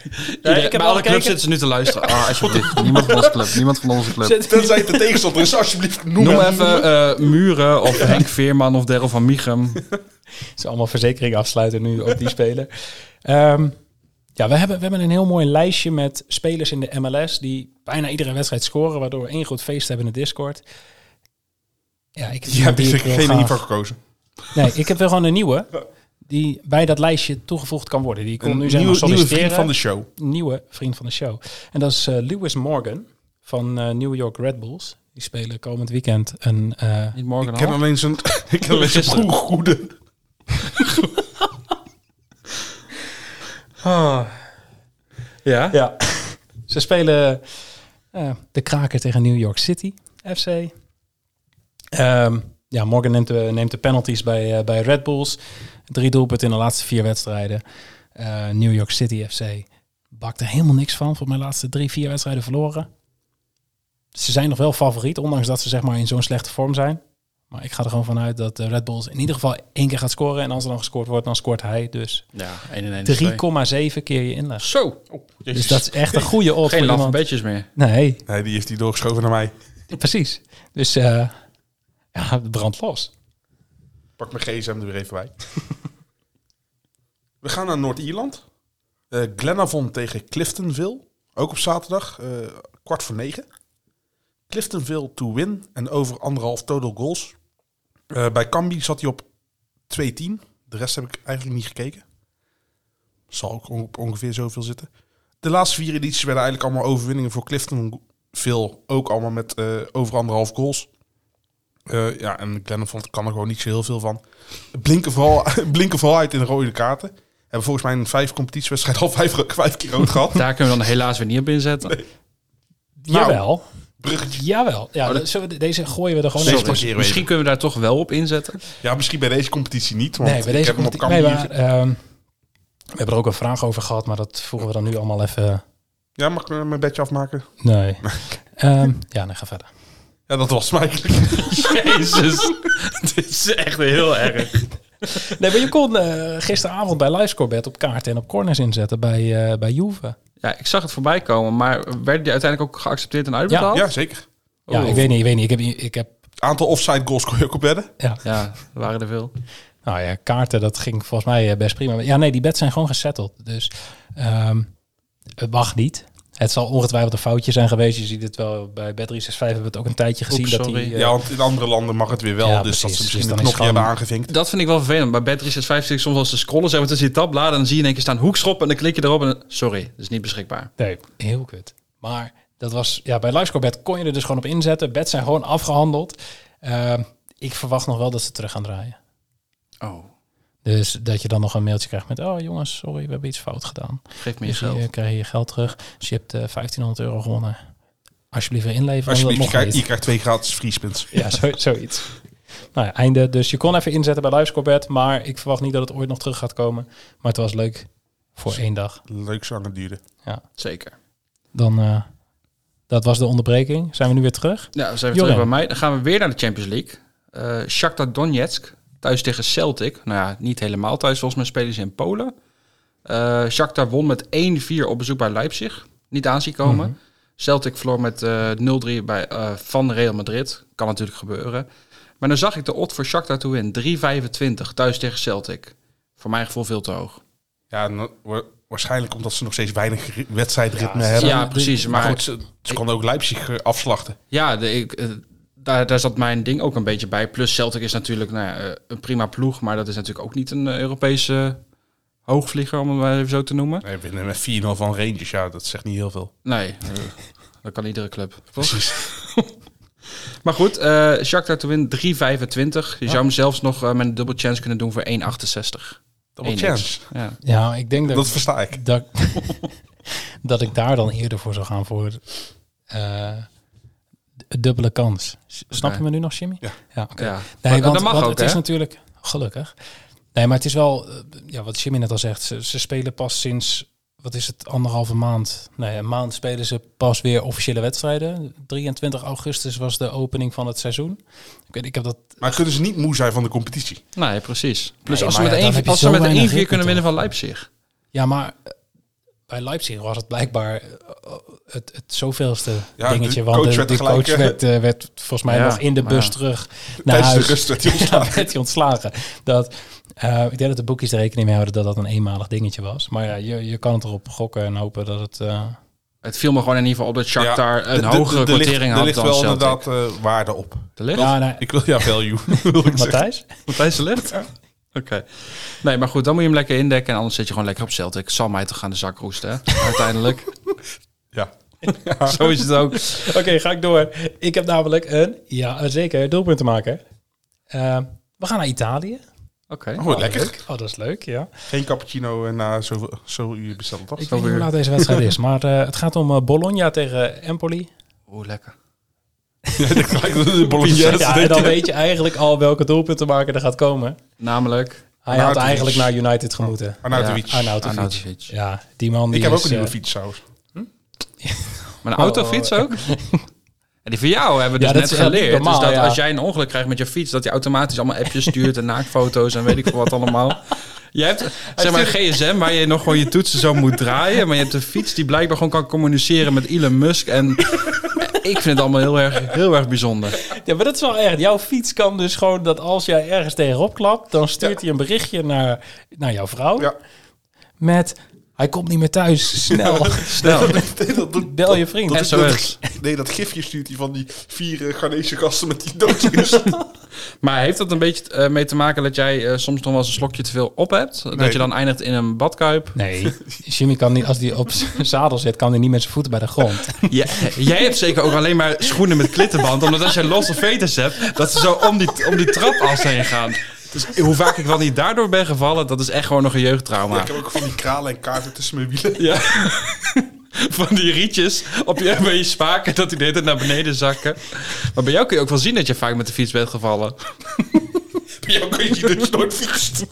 Speaker 1: ik
Speaker 7: Iedereen-
Speaker 1: heb
Speaker 7: bij
Speaker 1: al
Speaker 7: alle
Speaker 1: gekeken.
Speaker 7: clubs zitten ze nu te luisteren. Ah, alsjeblieft. Niemand van onze club. Niemand van onze club.
Speaker 6: Tenzij het de tegenstander is, alsjeblieft noem,
Speaker 7: Noem
Speaker 6: hem.
Speaker 7: even eh, Muren of Henk Veerman of Daryl van Michem.
Speaker 1: Ze allemaal verzekering afsluiten nu op die speler. Ehm, ja, we hebben, we hebben een heel mooi lijstje met spelers in de MLS die bijna iedere wedstrijd scoren, waardoor we één groot feest hebben in de Discord. Ja, ik heb
Speaker 6: Je hebt
Speaker 1: die
Speaker 6: er
Speaker 1: ik wil
Speaker 6: geen
Speaker 1: graag-
Speaker 6: niet voor gekozen.
Speaker 1: Nee, ik heb wel gewoon een nieuwe die bij dat lijstje toegevoegd kan worden. Die kon
Speaker 6: Een
Speaker 1: nu zeg maar
Speaker 6: nieuwe, nieuwe
Speaker 1: solliciteren.
Speaker 6: vriend van de show.
Speaker 1: nieuwe vriend van de show. En dat is eh, Lewis Morgan van eh, New York Red Bulls. Die spelen komend weekend een... eh,
Speaker 7: Niet morgen
Speaker 6: Ik ken
Speaker 7: al.
Speaker 6: alleen zijn, ik ken alleen zijn
Speaker 7: Gisteren.
Speaker 6: broer goede.
Speaker 1: Ah.
Speaker 7: Ja?
Speaker 1: Ja. Ze spelen eh, de kraker tegen New York City FC. Ehm, ja, Morgan neemt de, neemt de penalties bij, eh, bij Red Bulls. Drie doelpunten in de laatste vier wedstrijden. Eh, New York City FC bakt er helemaal niks van. Voor mijn laatste drie, vier wedstrijden verloren. Ze zijn nog wel favoriet, ondanks dat ze zeg maar in zo'n slechte vorm zijn. Maar ik ga er gewoon vanuit dat eh, Red Bulls in ieder geval één keer gaat scoren. En als er dan gescoord wordt, dan scoort hij. Dus
Speaker 7: Ja, 1 en 1 is 2.
Speaker 1: 3,7 keer je inleg.
Speaker 7: Zo.
Speaker 1: Dus dat is echt een goede odd
Speaker 7: Geen
Speaker 1: voor
Speaker 7: laffe
Speaker 1: iemand.
Speaker 7: beetjes meer.
Speaker 1: Nee,
Speaker 6: Nee, die heeft hij doorgeschoven naar mij.
Speaker 1: precies. Dus eh ja, brand los.
Speaker 6: Pak mijn gsm er weer even bij. We gaan naar Noord-Ierland. Eh Glenavon tegen Cliftonville. Ook op zaterdag, eh, kwart voor negen. Cliftonville to win en over anderhalf total goals. Eh, bij Cambi zat hij op 2-10. De rest heb ik eigenlijk niet gekeken. Zal ook on- op ongeveer zoveel zitten. De laatste vier edities werden eigenlijk allemaal overwinningen voor Cliftonville. Ook allemaal met eh, over anderhalf goals. Eh, ja, en Glenavon kan er gewoon niet zo heel veel van. Blinken vooral, blinken vooral uit in de rode kaarten. Hebben volgens mij in vijf competitiewedstrijden al vijf, vijf keer rood gehad.
Speaker 7: Daar kunnen we dan helaas weer niet op inzetten.
Speaker 6: Nou,
Speaker 1: jawel,
Speaker 6: Bruggetje.
Speaker 1: jawel. Ja,
Speaker 7: Oh, dat-
Speaker 1: dan zullen we, de- deze gooien we er gewoon
Speaker 6: Sorry.
Speaker 1: even-
Speaker 6: Sorry.
Speaker 7: Misschien kunnen we daar toch wel op inzetten.
Speaker 6: Ja, misschien bij deze competitie niet. Want
Speaker 1: Nee, bij
Speaker 6: ik
Speaker 1: deze
Speaker 6: heb hem op
Speaker 1: komt
Speaker 6: Cambuur.
Speaker 1: We hebben er ook een vraag over gehad, maar dat voegen we dan nu allemaal even...
Speaker 6: Ja, mag ik eh, mijn bedje afmaken?
Speaker 1: Nee. Ehm, ja, nee, ga verder.
Speaker 6: Ja, dat was hem eigenlijk.
Speaker 7: Jezus. Dit is echt heel erg.
Speaker 1: Nee, maar je kon eh, gisteravond bij Livescorebet op kaarten en op corners inzetten bij, eh, bij Juve.
Speaker 7: Ja, ik zag het voorbij komen, maar werden die uiteindelijk ook geaccepteerd en uitbetaald?
Speaker 6: Ja, zeker.
Speaker 1: Ja,
Speaker 7: Oh.
Speaker 1: ik weet niet, ik weet niet. Ik heb, ik heb
Speaker 6: Aantal offside goals kon je ook op wedden.
Speaker 1: ja.
Speaker 7: Ja, er waren er veel.
Speaker 1: Nou ja, kaarten, dat ging volgens mij eh, best prima. Ja, nee, die bets zijn gewoon gesetteld. Dus ehm, het mag niet. Het zal ongetwijfeld een foutje zijn geweest. Je ziet het wel bij Bet365 hebben we het ook een tijdje gezien.
Speaker 7: Oeps,
Speaker 1: dat
Speaker 7: sorry.
Speaker 1: die, eh,
Speaker 6: Ja, want in andere landen mag het weer wel.
Speaker 1: Ja,
Speaker 6: dus dat
Speaker 1: precies.
Speaker 6: ze misschien
Speaker 1: Dus dan
Speaker 6: een
Speaker 1: is
Speaker 6: knopje
Speaker 1: gewoon-
Speaker 6: hebben aangevinkt.
Speaker 7: Dat vind ik wel vervelend. Bij Bad 365 soms als ze scrollen, zeg maar tussen die tabbladen, en dan zie je in één keer staan hoekschop en dan klik je erop en dan- sorry, dat is niet beschikbaar.
Speaker 1: Nee, heel kut. Maar dat was, ja, bij LiveScoreBet kon je er dus gewoon op inzetten. Bets zijn gewoon afgehandeld. Ehm, ik verwacht nog wel dat ze terug gaan draaien.
Speaker 7: Oh,
Speaker 1: Dus dat je dan nog een mailtje krijgt met... oh jongens, sorry, we hebben iets fout gedaan.
Speaker 7: geef me je
Speaker 1: Dus je
Speaker 7: geld.
Speaker 1: eh, krijg je je geld terug. Dus je hebt eh, 1500 euro gewonnen. Alsjeblieft weer inleveren. want dat
Speaker 6: Alsjeblieft, je
Speaker 1: mocht
Speaker 6: krijgt,
Speaker 1: niet.
Speaker 6: je krijgt twee gratis vriespins.
Speaker 1: Ja, zo, zoiets. Nou ja, einde. Dus je kon even inzetten bij LiveScoreBet. Maar ik verwacht niet dat het ooit nog terug gaat komen. Maar het was leuk voor één dag.
Speaker 6: Leuk zo lang het duurde.
Speaker 7: Zeker.
Speaker 1: Dan, eh, dat was de onderbreking. Zijn we nu weer terug?
Speaker 7: Ja, we zijn weer
Speaker 1: Joran.
Speaker 7: terug bij mij. Dan gaan we weer naar de Champions League. Eh Shakhtar Donetsk, thuis tegen Celtic. Nou ja, niet helemaal thuis. Volgens mij spelen ze in Polen. Eh Shakhtar won met 1-4 op bezoek bij Leipzig. Niet aanzien komen.
Speaker 1: Mhm.
Speaker 7: Celtic verloor met eh, 0-3 bij, eh, van Real Madrid. Kan natuurlijk gebeuren. Maar dan zag ik de odd voor Shakhtar toe in. 3,25 thuis tegen Celtic. Voor mijn gevoel veel te hoog.
Speaker 6: Ja, en, wa- waarschijnlijk omdat ze nog steeds weinig ri- wedstrijdritme
Speaker 1: Ja,
Speaker 6: hebben.
Speaker 7: ja, precies.
Speaker 6: Maar
Speaker 7: maar
Speaker 6: goed, ze, ze konden ook Leipzig eh, afslachten.
Speaker 7: Ja, de, ik, eh, daar, daar zat mijn ding ook een beetje bij. Plus Celtic is natuurlijk nou ja, eh, een prima ploeg, maar dat is natuurlijk ook niet een eh, Europese hoogvlieger, om het maar even zo te noemen.
Speaker 6: Nee, winnen met 4-0 van Rangers. Ja, dat zegt niet heel veel.
Speaker 7: Nee, eh, dat kan iedere club. toch?
Speaker 6: Precies.
Speaker 7: Maar goed, eh Shakhtar te win 3,25. Je zou hem zelfs nog eh, met een double chance kunnen doen voor 1,68.
Speaker 6: Double
Speaker 7: 1x.
Speaker 6: chance.
Speaker 7: Ja.
Speaker 1: Ja, ik denk dat,
Speaker 6: Dat versta ik.
Speaker 1: dat, dat ik daar dan eerder voor zou gaan voor eh, d- dubbele kans. S- Snap je
Speaker 7: Oké.
Speaker 1: me nu nog, Jimmy?
Speaker 6: Ja.
Speaker 1: ja oké.
Speaker 7: Ja.
Speaker 1: Nee,
Speaker 7: Maar
Speaker 1: want,
Speaker 7: dat mag
Speaker 1: want
Speaker 7: ook,
Speaker 1: het is
Speaker 7: hè?
Speaker 1: natuurlijk gelukkig. Nee, maar het is wel, eh, ja, wat Jimmy net al zegt, ze, ze spelen pas sinds, wat is het, anderhalve maand? Nee, een maand spelen ze pas weer officiële wedstrijden. 23 augustus was de opening van het seizoen. Ik, weet, ik heb dat
Speaker 6: Maar kunnen ze niet moe zijn van de competitie?
Speaker 7: Nee, precies. Plus
Speaker 1: Nee,
Speaker 7: als ze
Speaker 1: maar
Speaker 7: met
Speaker 1: ja, dan heb
Speaker 7: één-
Speaker 1: je
Speaker 7: als ze
Speaker 1: zo
Speaker 7: met een 1-4
Speaker 1: weinig
Speaker 7: kunnen
Speaker 1: hitpunten.
Speaker 7: winnen van Leipzig.
Speaker 1: Ja, maar eh, bij Leipzig was het blijkbaar eh, het, het zoveelste
Speaker 6: Ja,
Speaker 1: dingetje.
Speaker 6: de
Speaker 1: want
Speaker 6: coach
Speaker 1: de,
Speaker 6: werd
Speaker 1: de
Speaker 6: gelijk,
Speaker 1: coach
Speaker 6: eh,
Speaker 1: werd, eh, werd volgens mij
Speaker 7: Ja,
Speaker 1: nog in de
Speaker 7: maar
Speaker 1: bus
Speaker 7: ja.
Speaker 1: terug naar
Speaker 6: Tijdens
Speaker 1: huis.
Speaker 6: de rust werd hij ontslagen.
Speaker 1: Ja, werd hij ontslagen. Dat, eh, ik denk dat de boekjes er rekening mee houden dat dat een eenmalig dingetje was. Maar ja, je, je kan het erop gokken en hopen dat het... eh,
Speaker 7: Het viel me gewoon in ieder geval op dat Shakhtar
Speaker 6: Ja,
Speaker 7: een
Speaker 6: de- de-
Speaker 7: hogere
Speaker 6: de- de ligt-
Speaker 7: quotering
Speaker 6: Er
Speaker 7: had
Speaker 6: ligt
Speaker 7: dan
Speaker 6: wel
Speaker 7: Celtic.
Speaker 6: inderdaad eh, waarde op.
Speaker 7: De licht?
Speaker 1: ja, nou,
Speaker 6: Ik wil jouw value. wil ik zeggen.
Speaker 1: Matthijs?
Speaker 7: Matthijs de licht? Oké. Nee, maar goed, dan moet je hem lekker indekken en anders zit je gewoon lekker op Celtic. Zal mij toch aan de zak roesten, hè? Uiteindelijk.
Speaker 6: Ja.
Speaker 7: Zo is het ook.
Speaker 1: Oké, ga ik door. Ik heb namelijk een, ja zeker, doelpunt te maken. Eh, we gaan naar Italië.
Speaker 7: Oké.
Speaker 6: Oh, lekker.
Speaker 1: Leuk. Oh, dat is leuk, ja.
Speaker 6: Geen cappuccino eh, na zoveel zo uur bestellen, toch?
Speaker 1: Ik
Speaker 7: Zo
Speaker 1: weet niet hoe
Speaker 7: weer.
Speaker 1: laat deze wedstrijd is, maar eh, het gaat om eh, Bologna tegen Empoli.
Speaker 7: Oeh, lekker.
Speaker 6: de bolletjes.
Speaker 1: ja, en dan weet je eigenlijk al welke doelpunten maken er gaat komen.
Speaker 7: Namelijk
Speaker 1: Hij had
Speaker 6: Arnautovic.
Speaker 1: eigenlijk naar United gemoeten.
Speaker 6: Arnautovic.
Speaker 7: Ja,
Speaker 1: Arnautovic.
Speaker 7: Arnautovic.
Speaker 1: Ja, die man die
Speaker 6: Ik heb
Speaker 1: is,
Speaker 6: ook een nieuwe
Speaker 1: eh,
Speaker 6: fiets, trouwens.
Speaker 7: Mijn autofiets ook? En die van jou hebben we
Speaker 1: Oh, Ja,
Speaker 7: dus
Speaker 1: dat
Speaker 7: net
Speaker 1: is echt niet
Speaker 7: geleerd.
Speaker 1: normaal,
Speaker 7: dus dat
Speaker 1: ja.
Speaker 7: als jij een ongeluk krijgt met je fiets, dat hij automatisch allemaal appjes stuurt en naaktfoto's en weet ik veel wat allemaal. Je hebt zeg maar een gsm waar je nog gewoon je toetsen zo moet draaien, maar je hebt een fiets die blijkbaar gewoon kan communiceren met Elon Musk. En ik vind het allemaal heel erg, heel erg bijzonder.
Speaker 1: Ja, maar dat is wel echt. Jouw fiets kan dus gewoon dat als jij ergens tegenop klapt, dan stuurt hij een berichtje naar, naar jouw vrouw.
Speaker 6: Ja.
Speaker 1: Met, hij komt niet meer thuis. Snel,
Speaker 7: Snel.
Speaker 6: dat doet-
Speaker 1: bel je vriend.
Speaker 7: En zo is.
Speaker 6: Nee, dat gifje stuurt hij van die vier eh, Ghanese gasten met die doodjes.
Speaker 7: Maar heeft dat een beetje eh, mee te maken dat jij eh, soms nog wel eens een slokje te veel op hebt? Dat
Speaker 6: Nee.
Speaker 7: je dan eindigt in een badkuip?
Speaker 1: Nee, Jimmy kan niet, als hij op zijn zadel zit, kan hij niet met zijn voeten bij de grond.
Speaker 7: Ja, jij hebt zeker ook alleen maar schoenen met klittenband. Omdat als jij losse veters hebt, dat ze zo om die, om die trapas heen gaan. Dus hoe vaak ik wel niet daardoor ben gevallen, dat is echt gewoon nog een jeugdtrauma.
Speaker 6: Ik heb ook van die kralen en kaarten tussen mijn wielen.
Speaker 7: Ja. Van die rietjes op je, bij je spaken, dat die de hele tijd naar beneden zakken. Maar bij jou kun je ook wel zien dat je vaak met de fiets bent gevallen.
Speaker 6: Bij jou kun je dus nooit fietsen.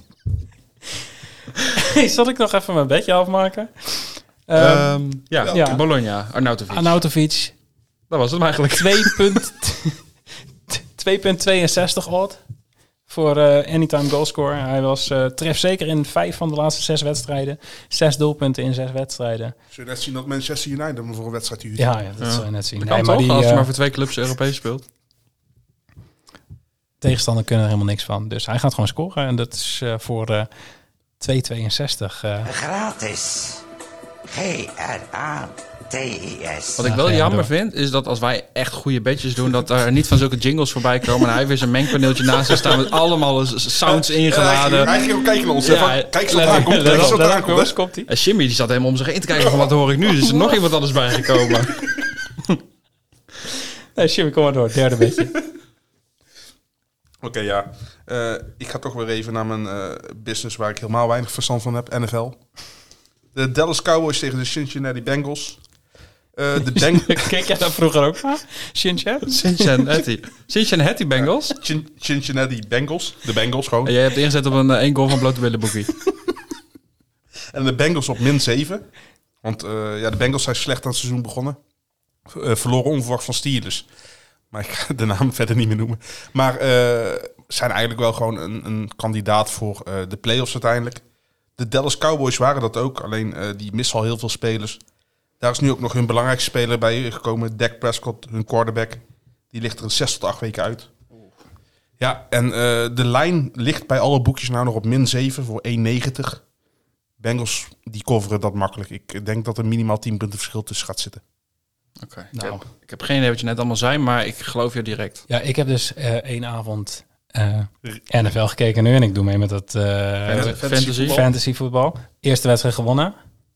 Speaker 1: Hey, zal ik nog even mijn bedje afmaken? Ehm
Speaker 7: Ehm, ja,
Speaker 1: ja.
Speaker 7: Bologna, Arnautovic.
Speaker 1: Arnautovic,
Speaker 7: dat was het eigenlijk.
Speaker 1: 2,62 odd voor eh, anytime goalscorer. Hij was eh trefzeker in vijf van de laatste zes wedstrijden. Zes doelpunten in zes wedstrijden.
Speaker 6: Zullen net zien dat Manchester United hem voor een wedstrijd huurt?
Speaker 1: Ja, ja dat zal je net zien.
Speaker 7: Dat
Speaker 1: Nee,
Speaker 7: kan
Speaker 1: maar
Speaker 7: toch,
Speaker 1: die
Speaker 7: als je
Speaker 1: eh,
Speaker 7: maar voor twee clubs Europees speelt.
Speaker 1: tegenstander kunnen er helemaal niks van. Dus hij gaat gewoon scoren. En dat is eh, voor eh 2,62. eh.
Speaker 5: Gratis. G-R-A-T-I-S.
Speaker 7: Wat ik wel
Speaker 1: Ja,
Speaker 7: jammer
Speaker 1: door.
Speaker 7: vind, is dat als wij echt goede bedjes doen, dat er niet van zulke jingles voorbij komen. En hij heeft weer zijn mengpaneeltje naast zich staan met allemaal s- s- sounds
Speaker 1: Eh,
Speaker 6: Hij,
Speaker 7: ingeladen.
Speaker 6: hij ging ook kijken naar ons.
Speaker 7: Ja,
Speaker 6: hè, van, kijk eens wat eraan komt. Kijk
Speaker 1: Let
Speaker 6: eens
Speaker 1: op,
Speaker 6: wat
Speaker 1: let
Speaker 6: eraan
Speaker 1: op,
Speaker 6: komt.
Speaker 1: jongens,
Speaker 6: hè.
Speaker 1: komt-ie.
Speaker 7: En Jimmy die zat helemaal om zich heen te kijken van wat hoor ik nu? Is er nog iemand anders bijgekomen?
Speaker 1: Nee, Jimmy, kom maar door. Derde beetje.
Speaker 6: Oké, ja. Eh, ik ga toch weer even naar mijn eh, business waar ik helemaal weinig verstand van heb. NFL. De Dallas Cowboys tegen de Cincinnati Bengals. Eh, de Bengals...
Speaker 1: Keek jij daar vroeger ook naar? Shincha?
Speaker 7: Cincinnati. Cincinnati Bengals.
Speaker 6: Cin- Cincinnati Bengals. De Bengals
Speaker 7: En
Speaker 6: gewoon.
Speaker 7: jij hebt ingezet op een eh, één goal van blote billenboekie.
Speaker 6: En de Bengals op min 7. Want eh, ja, de Bengals zijn slecht aan het seizoen begonnen. V- eh, verloren onverwacht van Steelers. Maar ik ga de naam verder niet meer noemen. Maar eh, zijn eigenlijk wel gewoon een, een kandidaat voor eh, de playoffs uiteindelijk. De Dallas Cowboys waren dat ook. Alleen eh, die missen al heel veel spelers. Daar is nu ook nog hun belangrijkste speler bij gekomen. Dak Prescott, hun quarterback. Die ligt er een 6 tot 8 weken uit. Ja, en eh, de lijn ligt bij alle boekjes nou nog op min 7 voor 1,90. Bengals die coveren dat makkelijk. Ik denk dat er minimaal 10 punten verschil tussen gaat zitten.
Speaker 7: Oké.
Speaker 1: Nou.
Speaker 7: Ik, heb, ik heb geen idee wat je net allemaal zei, maar ik geloof je direct.
Speaker 1: Ja, ik heb dus eh, één avond eh, NFL gekeken nu en ik doe mee met dat eh,
Speaker 7: Fantasy.
Speaker 1: fantasy voetbal. Eerste wedstrijd gewonnen.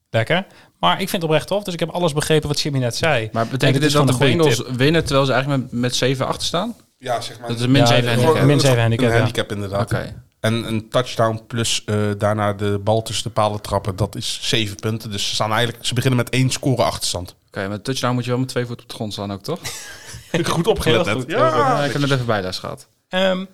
Speaker 1: lekker. Maar ik vind het oprecht tof, dus ik heb alles begrepen wat Jimmy net zei.
Speaker 7: Maar
Speaker 1: En
Speaker 7: betekent
Speaker 1: het
Speaker 7: dit
Speaker 1: is
Speaker 7: dat
Speaker 1: gewoon
Speaker 7: de
Speaker 1: een goede
Speaker 7: Bengals
Speaker 1: tip.
Speaker 7: winnen terwijl ze eigenlijk met, met 7 achter staan?
Speaker 6: Ja, zeg maar.
Speaker 7: Dat is een min
Speaker 1: Ja,
Speaker 7: 7
Speaker 1: dat-
Speaker 7: handicap.
Speaker 1: min zeven handicap,
Speaker 6: Een
Speaker 1: ja.
Speaker 6: handicap inderdaad.
Speaker 7: Oké.
Speaker 6: En een touchdown plus eh, daarna de bal tussen de palen trappen, dat is zeven punten. Dus ze, staan eigenlijk, ze beginnen met één score achterstand.
Speaker 7: Oké, met touchdown moet je wel met twee voeten op de grond staan ook, toch?
Speaker 6: Goed opgelet
Speaker 1: Heel
Speaker 6: net.
Speaker 1: goed,
Speaker 7: Ja,
Speaker 6: Ja,
Speaker 7: ik heb het even bijles gehad.
Speaker 1: Ehm,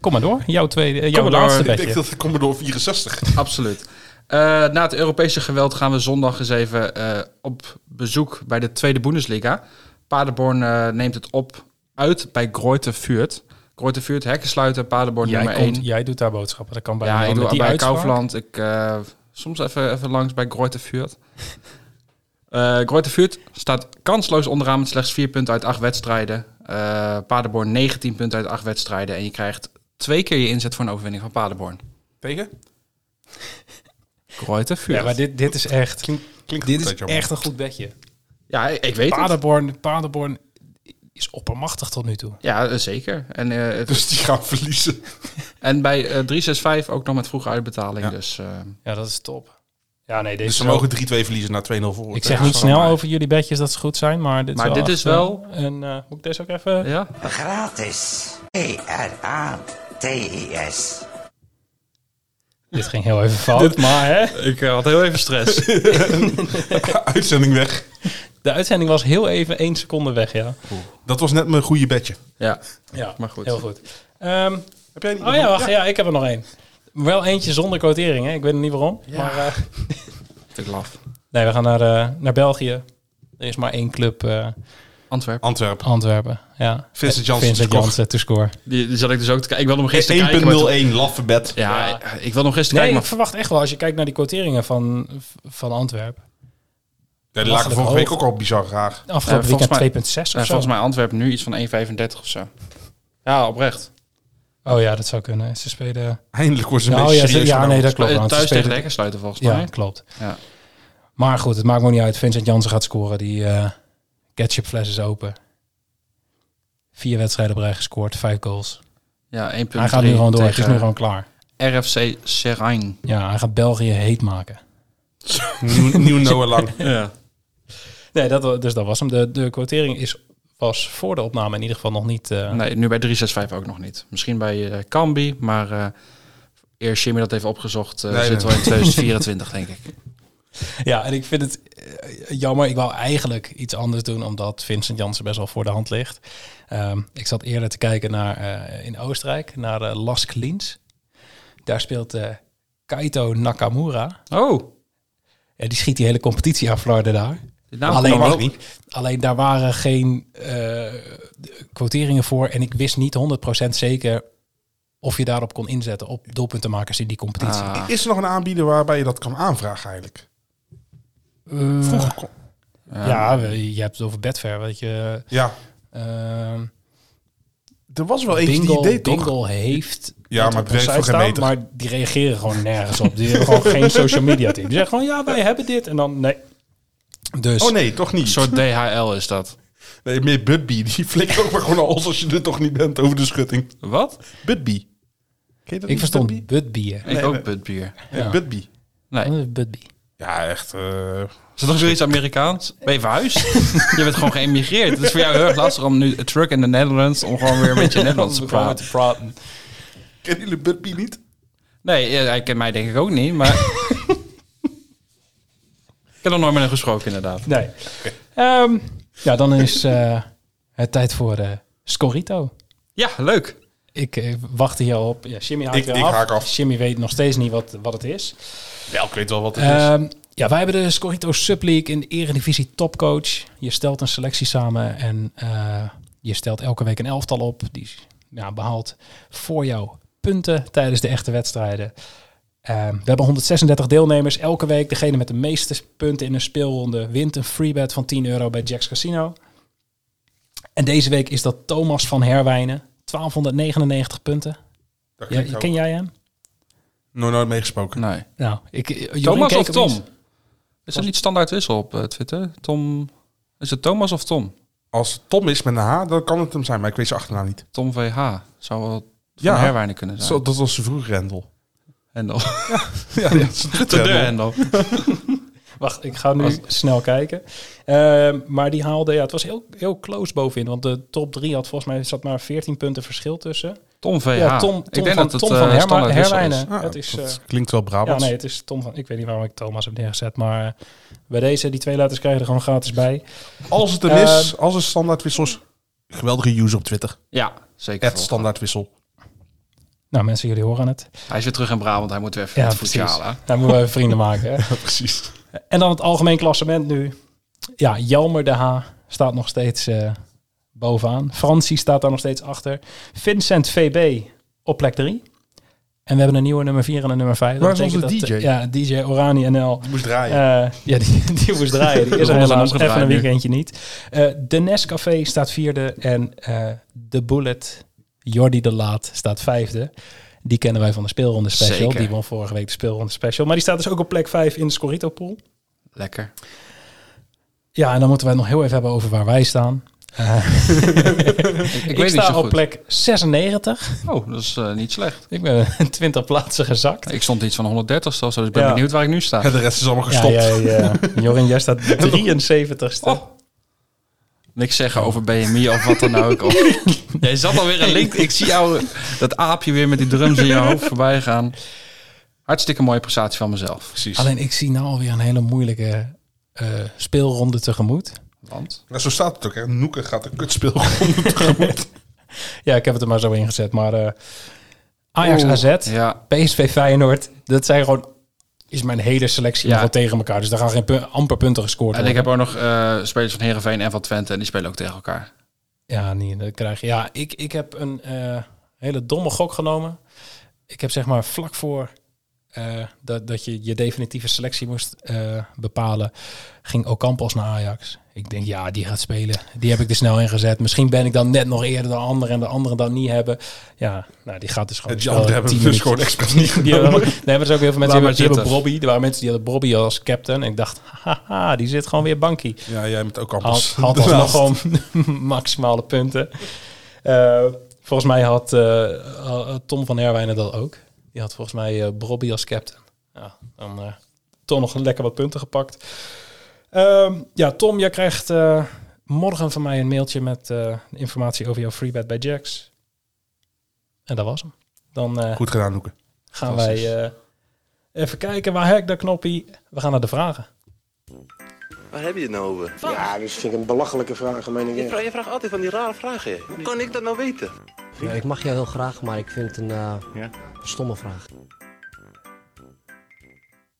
Speaker 1: kom maar door, jouw, tweede, eh, jouw
Speaker 7: maar door.
Speaker 1: laatste
Speaker 7: Ik
Speaker 6: ik denk
Speaker 1: bedje.
Speaker 6: dat het komen door 64.
Speaker 7: Absoluut. Eh, na het Europese geweld gaan we zondag eens even eh, op bezoek bij de Tweede Bundesliga. Paderborn eh, neemt het op uit bij Greuther Fürth. Greuther Fürth, hekken sluiten, Paderborn
Speaker 1: Jij,
Speaker 7: nummer
Speaker 1: komt,
Speaker 7: 1.
Speaker 1: jij doet daar boodschappen, dat kan bij
Speaker 7: Ja,
Speaker 1: een
Speaker 7: ik
Speaker 1: ander.
Speaker 7: doe
Speaker 1: Die
Speaker 7: bij
Speaker 1: uitspraak.
Speaker 7: Kaufland. Ik, eh, soms even, even langs bij Greuther Fürth. Eh Greuther Fürth staat kansloos onderaan met slechts 4 punten uit 8 wedstrijden. Eh, Paderborn 19 punten uit 8 wedstrijden. En je krijgt twee keer je inzet voor een overwinning van Paderborn.
Speaker 6: Tegen?
Speaker 7: Greuther Fürth.
Speaker 1: Ja, maar dit, dit is echt,
Speaker 6: Klinkt
Speaker 1: dit
Speaker 6: goed,
Speaker 1: is
Speaker 6: weet je wel.
Speaker 1: echt een goed bedje.
Speaker 7: Ja, ik weet het.
Speaker 1: Paderborn, Paderborn is oppermachtig tot nu toe.
Speaker 7: Ja, eh, zeker. En, eh, het-
Speaker 6: Dus die gaan verliezen.
Speaker 7: en bij eh, 365 ook nog met vroege uitbetaling. Dus eh,
Speaker 1: Ja, dat is top. Ja, nee, deze
Speaker 6: Dus ze
Speaker 1: is wel-
Speaker 6: mogen 3-2 verliezen naar 2-0 voor.
Speaker 1: Ik zeg niet snel over jullie bedjes dat ze goed zijn, maar dit
Speaker 7: Maar
Speaker 1: is wel...
Speaker 7: dit
Speaker 1: echt,
Speaker 7: is wel-
Speaker 1: eh, een, eh, moet ik deze ook even...
Speaker 7: ja,
Speaker 5: Gratis. G-R-A-T-I-S.
Speaker 1: Dit ging heel even fout, maar hè.
Speaker 7: ik eh, had heel even stress.
Speaker 6: Uitzending weg.
Speaker 1: De uitzending was heel even één seconde weg, ja.
Speaker 6: Dat was net mijn goede bedje.
Speaker 7: ja,
Speaker 1: Ja,
Speaker 7: maar goed.
Speaker 1: heel goed. Ehm,
Speaker 6: Heb jij niet?
Speaker 1: oh ja, wacht, ja, ik heb er nog één. Wel eentje zonder quotering, hè. Ik weet nog niet waarom. Maar, eh,
Speaker 7: Vind ik laf.
Speaker 1: nee, we gaan naar, eh, naar België. Er is maar één club, eh,
Speaker 7: Antwerpen.
Speaker 6: Antwerpen.
Speaker 1: Antwerpen. Ja. Eh,
Speaker 6: Vincent Janssen
Speaker 1: Vincent
Speaker 6: verkocht.
Speaker 1: Janssen to score.
Speaker 7: Die, die zat ik dus ook te kijken. Ik wilde hem gisteren kijken. maar toen-
Speaker 6: 1.01, laffe bed.
Speaker 7: Ja, ik- ik wilde
Speaker 1: Nee,
Speaker 7: hem gisteren
Speaker 1: ik
Speaker 7: kijken. Maar eh,
Speaker 1: verwacht echt wel, als je kijkt naar die quoteringen van, van Antwerpen.
Speaker 6: Ja, die lagen
Speaker 1: Lachelijk
Speaker 6: vorige
Speaker 1: hoog.
Speaker 6: week ook al bizar raar.
Speaker 1: Afgelopen
Speaker 7: Eh, volgens mij-
Speaker 1: weekend 2,6
Speaker 7: eh,
Speaker 1: of zo.
Speaker 7: volgens mij Antwerpen nu iets van 1,35 of zo. Ja, oprecht.
Speaker 1: Oh ja, dat zou kunnen. Ze spelen...
Speaker 6: Eindelijk wordt ze een
Speaker 1: Ja, oh,
Speaker 6: beetje
Speaker 1: ja, ze-
Speaker 6: serieus.
Speaker 1: ja nee,
Speaker 6: genomen.
Speaker 1: dat klopt.
Speaker 7: Eh,
Speaker 1: want ze
Speaker 7: Thuis tegen de
Speaker 1: spelen-
Speaker 7: hekken sluiten volgens
Speaker 1: Ja,
Speaker 7: mij.
Speaker 1: klopt.
Speaker 7: Ja.
Speaker 1: Maar goed, het maakt me niet uit. Vincent Jansen gaat scoren. Die eh ketchupfles is open. Vier wedstrijden op rij gescoord, vijf goals.
Speaker 7: Ja, 1,3
Speaker 1: hij gaat nu gewoon door. Het is
Speaker 7: tegen
Speaker 1: nu gewoon klaar.
Speaker 7: RFC Serijn.
Speaker 1: Ja, hij gaat België heet maken.
Speaker 6: Nieuw, nieuw Noah Lang.
Speaker 7: Ja.
Speaker 1: Nee, dat, wa- dus dat was hem. De, de quotering is, was voor de opname in ieder geval nog niet... eh,
Speaker 7: Nee, nu bij 365 ook nog niet. Misschien bij eh Kambi, maar eh eerst Jimmy dat heeft opgezocht, eh,
Speaker 6: Nee,
Speaker 7: zitten
Speaker 6: nee.
Speaker 7: we in 2024, denk ik.
Speaker 1: Ja, en ik vind het eh, jammer. Ik wou eigenlijk iets anders doen, omdat Vincent Jansen best wel voor de hand ligt. Ehm, ik zat eerder te kijken naar, eh, in Oostenrijk, naar eh, Lask Linz. Daar speelt eh, Kaito Nakamura.
Speaker 7: Oh,
Speaker 1: En die schiet die hele competitie aan Florida daar.
Speaker 7: dit naam
Speaker 1: alleen,
Speaker 7: kwam ook.
Speaker 1: alleen daar waren geen eh, quoteringen voor. En ik wist niet 100% zeker of je daarop kon inzetten op doelpuntenmakers in die competitie.
Speaker 7: Ah,
Speaker 6: Is er nog een aanbieder waarbij je dat kan aanvragen eigenlijk? Vroeger kon-
Speaker 1: ja, we- je hebt het over Betfair, weet je.
Speaker 6: Ja,
Speaker 1: Ehm,
Speaker 6: er was wel eentje Oh, die
Speaker 1: Bingo,
Speaker 6: deed toch?
Speaker 1: Bingo heeft.
Speaker 6: Ja,
Speaker 1: dat
Speaker 6: maar
Speaker 1: op
Speaker 6: het
Speaker 1: hun
Speaker 6: werkt
Speaker 1: site
Speaker 6: voor geen
Speaker 1: staan,
Speaker 6: meter.
Speaker 1: Maar die reageren gewoon nergens op. Die hebben gewoon geen social media team. Die zeggen gewoon, ja, wij hebben dit. En dan, nee. Dus,
Speaker 6: Oh nee, toch niet.
Speaker 7: Een soort DHL is dat.
Speaker 6: Nee, meer Budbee. Die flikt ook maar gewoon alles als je er toch niet bent over de schutting.
Speaker 7: Wat?
Speaker 6: Budbee. Ken je dat
Speaker 1: ik
Speaker 6: niet,
Speaker 1: verstond
Speaker 6: Budbee?
Speaker 1: Budbier.
Speaker 7: ik
Speaker 6: Nee,
Speaker 7: ook
Speaker 6: nee.
Speaker 7: putbier.
Speaker 6: Nee, Budbee.
Speaker 7: Nee. Is
Speaker 1: Budbie.
Speaker 6: Ja, echt. eh,
Speaker 7: dat nog zoiets Amerikaans? Ben je verhuisd? je bent gewoon geëmigreerd. Het is voor jou heel erg lastig om nu een truck in de Netherlands... om gewoon weer een beetje Nederlands te praten.
Speaker 6: Kennen jullie Budbee niet?
Speaker 7: Nee, ja, hij kent mij denk ik ook niet, maar... ik heb nog nooit met hem gesproken, inderdaad.
Speaker 1: Nee. Ehm, ja, dan is eh, het tijd voor eh Scorito.
Speaker 7: Ja, leuk.
Speaker 1: Ik eh, wacht hier al op. Ja, Jimmy haakt
Speaker 6: Ik-
Speaker 1: weer
Speaker 6: ik
Speaker 1: af.
Speaker 6: haak af.
Speaker 1: Jimmy weet nog steeds niet wat, wat het is.
Speaker 6: Wel, ik weet wel wat het is.
Speaker 1: Ehm, ja, wij hebben de Scorito Subleague in de Eredivisie Topcoach. Je stelt een selectie samen en eh, je stelt elke week een elftal op. Die ja, behaalt voor jou punten tijdens de echte wedstrijden. Ehm, we hebben 136 deelnemers. Elke week degene met de meeste punten in een speelronde wint een freebet van 10 euro bij Jack's Casino. En deze week is dat Thomas van Herwijnen. 1299 punten.
Speaker 6: Dat
Speaker 1: Ja,
Speaker 6: klinkt ook-
Speaker 1: ken jij hem?
Speaker 6: Nog nooit meegesproken.
Speaker 7: Nee.
Speaker 1: Nou, ik, Jorien
Speaker 7: Thomas
Speaker 1: keek
Speaker 7: of
Speaker 1: opeens-
Speaker 7: Tom? Is dat niet standaard wissel op eh, Twitter? Tom... Is het Thomas of Tom?
Speaker 6: Als het Tom is met een H, dan kan het hem zijn, maar ik weet zijn achternaam niet.
Speaker 7: Tom VH. Zou wel van
Speaker 6: Ja.
Speaker 7: Herwijnen kunnen zijn.
Speaker 6: Zo, dat was zijn vroeger Rendel.
Speaker 7: Hendel.
Speaker 6: Ja, dat is een
Speaker 7: De
Speaker 6: Twitter-hendel.
Speaker 7: Hendel.
Speaker 1: Wacht, ik ga nu snel kijken. Ehm, maar die haalde, ja, het was heel, heel close bovenin. Want de top 3 had volgens mij zat maar 14 punten verschil tussen.
Speaker 7: Tom VH.
Speaker 1: Ja, Tom, Tom
Speaker 7: ik denk
Speaker 1: van,
Speaker 7: dat het
Speaker 1: Tom van
Speaker 7: eh,
Speaker 1: Herma-
Speaker 7: standaard wissel
Speaker 1: Herwijnen.
Speaker 7: is.
Speaker 1: het is, eh,
Speaker 6: dat klinkt wel
Speaker 1: ja,
Speaker 6: Brabant.
Speaker 1: nee, het is Tom van. Ik weet niet waarom ik Thomas heb neergezet. Maar eh, bij deze, die twee letters krijg je er gewoon gratis bij.
Speaker 6: Als het er is,
Speaker 1: Ehm,
Speaker 6: als het standaardwissel is, geweldige user op Twitter.
Speaker 7: Ja, zeker.
Speaker 6: Het standaardwissel.
Speaker 1: Nou, mensen, jullie horen het.
Speaker 7: Hij is weer terug in Brabant. Hij moet weer even het voetje halen. hè.
Speaker 1: Daar moeten we even vrienden maken. Hè?
Speaker 6: Precies.
Speaker 1: En dan het algemeen klassement nu. Ja, Jelmer de H staat nog steeds eh, bovenaan. Francie staat daar nog steeds achter. Vincent VB op plek 3. En we hebben een nieuwe nummer 4 en een nummer 5.
Speaker 6: Waar is onze DJ?
Speaker 1: eh, ja, DJ Orani NL.
Speaker 6: Moest draaien.
Speaker 1: Eh, ja, die, die moest draaien. Die is er
Speaker 7: Ronde zijn
Speaker 1: helaas
Speaker 7: omgedraaid
Speaker 1: even een
Speaker 7: nu.
Speaker 1: weekendje niet. Eh de Nescafé staat vierde. En eh The Bullet, Jordi de Laat, staat vijfde. Die kennen wij van de speelronde special.
Speaker 7: Zeker.
Speaker 1: Die won vorige week de speelronde special. Maar die staat dus ook op plek vijf in de Scorito pool.
Speaker 7: Lekker.
Speaker 1: Ja, en dan moeten wij het nog heel even hebben over waar wij staan.
Speaker 7: Ik,
Speaker 1: Ik,
Speaker 7: weet
Speaker 1: sta
Speaker 7: niet
Speaker 1: op
Speaker 7: zo goed.
Speaker 1: plek 96.
Speaker 7: Oh, dat is eh, niet slecht.
Speaker 1: Ik ben 20 plaatsen gezakt.
Speaker 7: Ik stond iets van 130 of zo, dus ik ben
Speaker 1: Ja.
Speaker 7: benieuwd waar ik nu sta.
Speaker 6: de rest is
Speaker 1: Ja,
Speaker 6: allemaal gestopt.
Speaker 1: jij, eh, Jorin, jij staat 73ste.
Speaker 7: Oh. Niks zeggen over BMI of wat dan ook. Of... Jij zat alweer een link. Ik zie jou, dat aapje weer met die drums in je hoofd voorbij gaan. Hartstikke mooie prestatie van mezelf.
Speaker 6: Precies.
Speaker 1: Alleen ik zie nou alweer een hele moeilijke eh, speelronde tegemoet.
Speaker 7: Want
Speaker 6: Nou, zo staat het ook. Hè. Noeken gaat de kutspeel gewoon tegemoet.
Speaker 1: Ja, ik heb het er maar zo in gezet. Maar eh, Ajax AZ,
Speaker 7: ja,
Speaker 1: PSV Feyenoord, dat zijn gewoon is mijn hele selectie
Speaker 7: Ja.
Speaker 1: gewoon tegen elkaar. Dus daar gaan geen pu- amper punten gescoord
Speaker 7: en ik
Speaker 1: worden.
Speaker 7: heb ook nog eh, spelers van Herenveen en van Twente en die spelen ook tegen elkaar.
Speaker 1: Ja, nee, dat krijg je. Ja, ik, ik heb een eh, hele domme gok genomen. Ik heb zeg maar vlak voor eh, dat, dat je je definitieve selectie moest eh, bepalen, ging Ocampos naar Ajax. Ik denk, ja, die gaat spelen. Die heb ik er snel in gezet. Misschien ben ik dan net nog eerder dan anderen en de anderen dan niet hebben. Ja, nou, die gaat dus gewoon.
Speaker 6: Het
Speaker 1: spelen
Speaker 6: Jan hebben we
Speaker 1: tien
Speaker 6: dus
Speaker 1: minuten.
Speaker 6: gewoon expres niet
Speaker 1: Die
Speaker 6: genomen.
Speaker 1: hebben, nee, maar er zijn ook heel veel mensen die hebben,
Speaker 7: maar
Speaker 1: die hebben
Speaker 7: zitten.
Speaker 1: Bobby. Er waren mensen die hadden Bobby als captain. En ik dacht, haha, die zit gewoon weer bankie.
Speaker 6: Ja, jij bent ook
Speaker 1: Had,
Speaker 6: anders.
Speaker 1: had alsnog gewoon maximale punten. Eh, volgens mij had eh, eh, Tom van Herwijnen dat ook. Die had volgens mij eh Brobby als captain. Ja, dan eh, toch nog lekker wat punten gepakt. Ehm, ja, Tom, jij krijgt eh, morgen van mij een mailtje met eh, informatie over jouw freebet bij Jax. En dat was hem. Dan eh,
Speaker 6: Goed gedaan, Noeken.
Speaker 1: gaan wij eh, even kijken. Waar heb ik dat knoppie? We gaan naar de vragen.
Speaker 10: Waar heb je het nou over?
Speaker 3: Ja, dat vind ik een belachelijke vraag, meen ik.
Speaker 10: Je vraagt, je vraagt altijd van die rare vragen. Hoe kan ik dat nou weten?
Speaker 11: Ik mag jou heel graag, maar ik vind het een stomme vraag.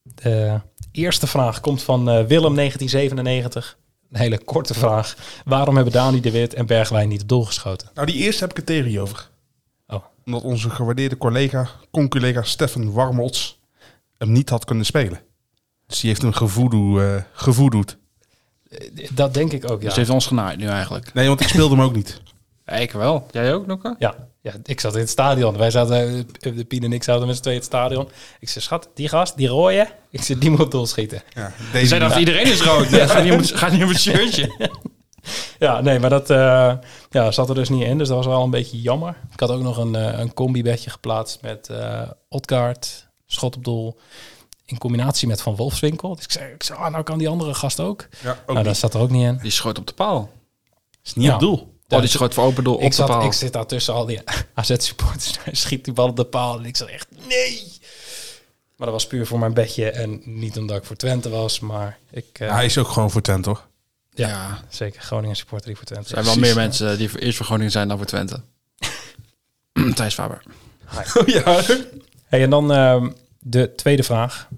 Speaker 1: De eerste vraag komt van eh, Willem 1997. Een hele korte vraag. Waarom hebben Dani de Wit en Bergwijn niet op doel geschoten?
Speaker 6: Nou, die eerste heb ik een theorie over.
Speaker 1: Oh.
Speaker 6: Omdat onze gewaardeerde collega, con-collega Stefan Warmolts hem niet had kunnen spelen. Dus die heeft hem gevoedoe, eh, gevoedoed.
Speaker 1: Dat denk ik ook, ja.
Speaker 7: Dus heeft ons genaaid nu eigenlijk.
Speaker 6: Nee, want ik speelde hem ook niet.
Speaker 7: Ja, ik wel. Jij ook, Noeke?
Speaker 1: ja. Ja, ik zat in het stadion. Wij zaten, eh, de Pien en ik zaten met z'n tweeën in het stadion. Ik zei, schat, die gast, die rooie. Ik zei, die moet op doel schieten.
Speaker 6: Ja,
Speaker 7: Zij
Speaker 6: deze
Speaker 7: dacht, iedereen is rood. Ja, Ga niet op het- ga niet op het shirtje.
Speaker 1: Ja, nee, maar dat eh, ja, zat er dus niet in. Dus dat was wel een beetje jammer. Ik had ook nog een, eh, een combi-bedje geplaatst met eh Otkaart, schot op doel. In combinatie met Van Wolfswinkel. Dus ik zei, ik zei ah, nou kan die andere gast ook.
Speaker 6: Ja, ook
Speaker 1: nou, dat
Speaker 6: niet.
Speaker 1: zat er ook niet in.
Speaker 7: Die schoot op de paal.
Speaker 6: is niet
Speaker 1: Ja.
Speaker 6: op doel.
Speaker 7: Oh, die schoot voor open doel op
Speaker 1: ik,
Speaker 7: de
Speaker 1: zat,
Speaker 7: paal.
Speaker 1: ik zit daar tussen al die AZ-supporters. Hij schiet die bal op de paal. En ik zat echt, nee! Maar dat was puur voor mijn bedje. En niet omdat ik voor Twente was. Maar ik, eh,
Speaker 6: Ja, hij is ook gewoon voor Twente, hoor.
Speaker 1: ja, zeker. Groningen supporter die voor Twente
Speaker 7: Er
Speaker 1: is.
Speaker 7: zijn wel meer mensen die voor eerst voor Groningen zijn dan voor Twente. Thijs Faber. Oh,
Speaker 1: Hey, en dan ehm, de tweede vraag.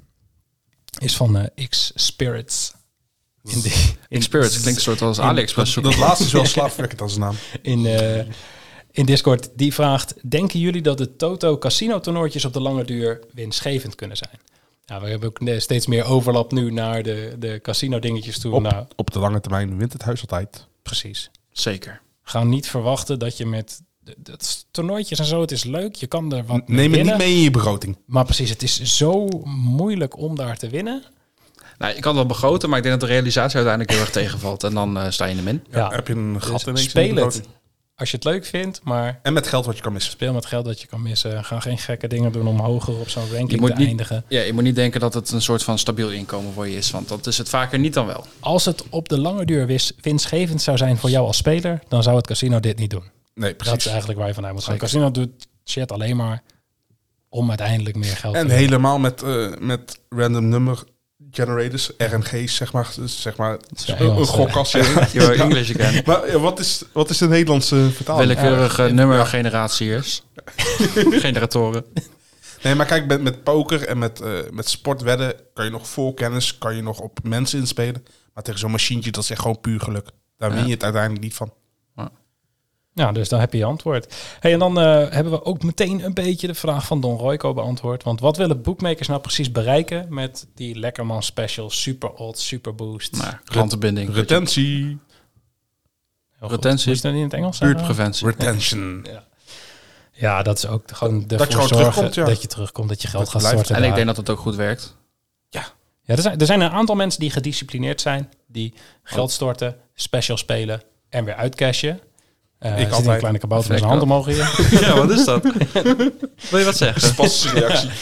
Speaker 1: Is van eh, X-Spirits. In, de, in,
Speaker 7: Experience klinkt een soort als AliExpress
Speaker 6: Dat,
Speaker 7: zoeken.
Speaker 6: dat laatste is wel slaapverwekkend als naam.
Speaker 1: in, eh, in Discord. Die vraagt, denken jullie dat de Toto Casino toernooitjes op de lange duur winstgevend kunnen zijn? Ja, we hebben ook eh, steeds meer overlap nu naar de, de casino dingetjes toe. Nou,
Speaker 6: Op, op de lange termijn wint het huis altijd.
Speaker 1: precies.
Speaker 7: Zeker.
Speaker 1: Ga niet verwachten dat je met d- dat toernooitjes en zo, het is leuk, je kan er wat mee
Speaker 6: Neem het
Speaker 1: Oh, winnen.
Speaker 6: niet mee in je begroting.
Speaker 1: Maar precies, het is zo moeilijk om daar te winnen.
Speaker 7: Nou, je kan het wel begroten, maar ik denk dat de realisatie uiteindelijk heel erg tegenvalt. En dan eh, sta je in de min.
Speaker 1: Ja.
Speaker 6: Heb je een gat
Speaker 1: Dus
Speaker 6: in
Speaker 1: speel het. als je het leuk vindt, maar
Speaker 6: En met geld wat je kan missen.
Speaker 1: speel met geld dat je kan missen. Ga geen gekke dingen doen om hoger op zo'n
Speaker 7: Je
Speaker 1: ranking
Speaker 7: moet,
Speaker 1: te
Speaker 7: niet,
Speaker 1: eindigen.
Speaker 7: ja, je moet niet denken dat het een soort van stabiel inkomen voor je is. Want dat is het vaker niet dan wel.
Speaker 1: Als het op de lange duur wis- winstgevend zou zijn voor jou als speler, dan zou het casino dit niet doen.
Speaker 6: Nee,
Speaker 1: Dat is
Speaker 6: precies.
Speaker 1: eigenlijk waar je vanuit moet gaan.
Speaker 7: Zeker.
Speaker 1: Casino doet shit alleen maar om uiteindelijk meer geld
Speaker 6: En
Speaker 1: te verdienen.
Speaker 6: helemaal met, eh, met random number generators, RNG's, zeg maar. Dus zeg maar
Speaker 1: Ja,
Speaker 6: een,
Speaker 1: heel
Speaker 6: een
Speaker 1: slecht.
Speaker 6: gokkast. ja.
Speaker 7: Your English again.
Speaker 6: Maar eh, wat is, wat is de Nederlandse vertaling?
Speaker 7: Willekeurige nummergeneratiers. Generatoren.
Speaker 6: Nee, maar kijk, met, met poker en met, eh, met sportwedden kan je nog vol kennis, kan je nog op mensen inspelen. Maar tegen zo'n machientje, dat is echt gewoon puur geluk. Daar win je het uiteindelijk niet van.
Speaker 1: Ja, dus dan heb je je antwoord. Hey, en dan eh, hebben we ook meteen een beetje de vraag van Don Royco beantwoord. Want wat willen bookmakers nou precies bereiken met die Lekkerman special, super odds, super boost?
Speaker 7: Maar klantenbinding.
Speaker 6: Retentie.
Speaker 1: Heel goed.
Speaker 7: retentie.
Speaker 1: Moet je dat niet in het Engels zeggen?
Speaker 7: Buurtpreventie.
Speaker 6: Retention.
Speaker 1: Ja, dat is ook gewoon ervoor
Speaker 6: je gewoon
Speaker 1: zorgen
Speaker 6: terugkomt, ja.
Speaker 1: dat je terugkomt, dat je geld
Speaker 6: Dat
Speaker 1: gaat
Speaker 6: blijft.
Speaker 1: storten.
Speaker 7: En ik
Speaker 1: daar.
Speaker 7: denk dat het ook goed werkt.
Speaker 1: ja, er, zijn, er zijn een aantal mensen die gedisciplineerd zijn, die geld
Speaker 6: Oh.
Speaker 1: storten, special spelen en weer uitcashen. Eh, er zit hier
Speaker 6: altijd.
Speaker 1: een kleine kabouter met zijn hand
Speaker 7: Lekker.
Speaker 1: omhoog hier.
Speaker 7: Ja, wat is dat? Wil je wat zeggen?
Speaker 6: Passieve reactie.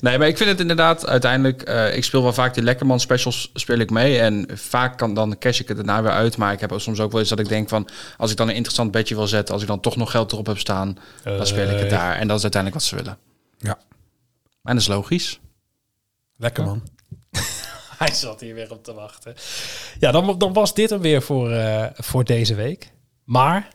Speaker 7: Nee, maar ik vind het inderdaad uiteindelijk... eh, ik speel wel vaak die Lekkerman specials speel ik mee. En vaak kan dan cash ik het daarna weer uit. Maar ik heb ook soms ook wel eens dat ik denk van... als ik dan een interessant bedje wil zetten... als ik dan toch nog geld erop heb staan... dan speel ik het daar. En dat is uiteindelijk wat ze willen.
Speaker 6: Ja.
Speaker 7: En dat is logisch.
Speaker 6: Lekker man.
Speaker 1: Hij zat hier weer op te wachten. Ja, dan, dan was dit hem weer voor, eh, voor deze week. Maar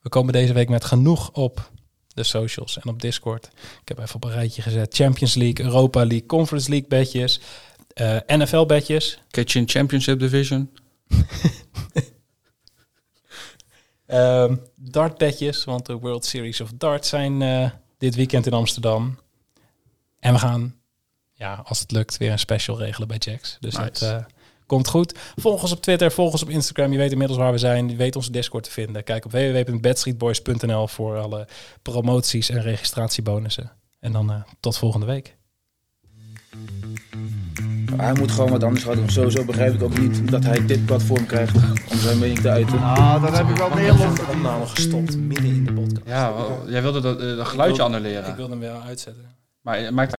Speaker 1: we komen deze week met genoeg op de socials en op Discord. Ik heb even op een rijtje gezet. Champions League, Europa League, Conference League bedjes, eh, NFL bedjes.
Speaker 7: Kitchen Championship Division.
Speaker 1: Ehm dart bedjes, want de World Series of Dart zijn eh, dit weekend in Amsterdam. En we gaan, ja, als het lukt, weer een special regelen bij Jax. Dus
Speaker 7: Nice.
Speaker 1: dat eh, komt goed. Volg ons op Twitter, volg ons op Instagram. Je weet inmiddels waar we zijn. Je weet onze Discord te vinden. Kijk op www.bedstreetboys.nl voor alle promoties en registratiebonussen. En dan eh, tot volgende week.
Speaker 9: Hij moet gewoon wat anders gaan doen. Sowieso begrijp ik ook niet dat hij dit platform krijgt om zijn mening te uiten.
Speaker 2: Ah, dat heb ik wel Nederland.
Speaker 1: De opname gestopt midden in de podcast.
Speaker 7: Ja, wel, jij wilde dat, eh, dat geluidje
Speaker 1: wil-
Speaker 7: annuleren.
Speaker 1: Ik wilde hem wel uitzetten.
Speaker 7: Maar het maakt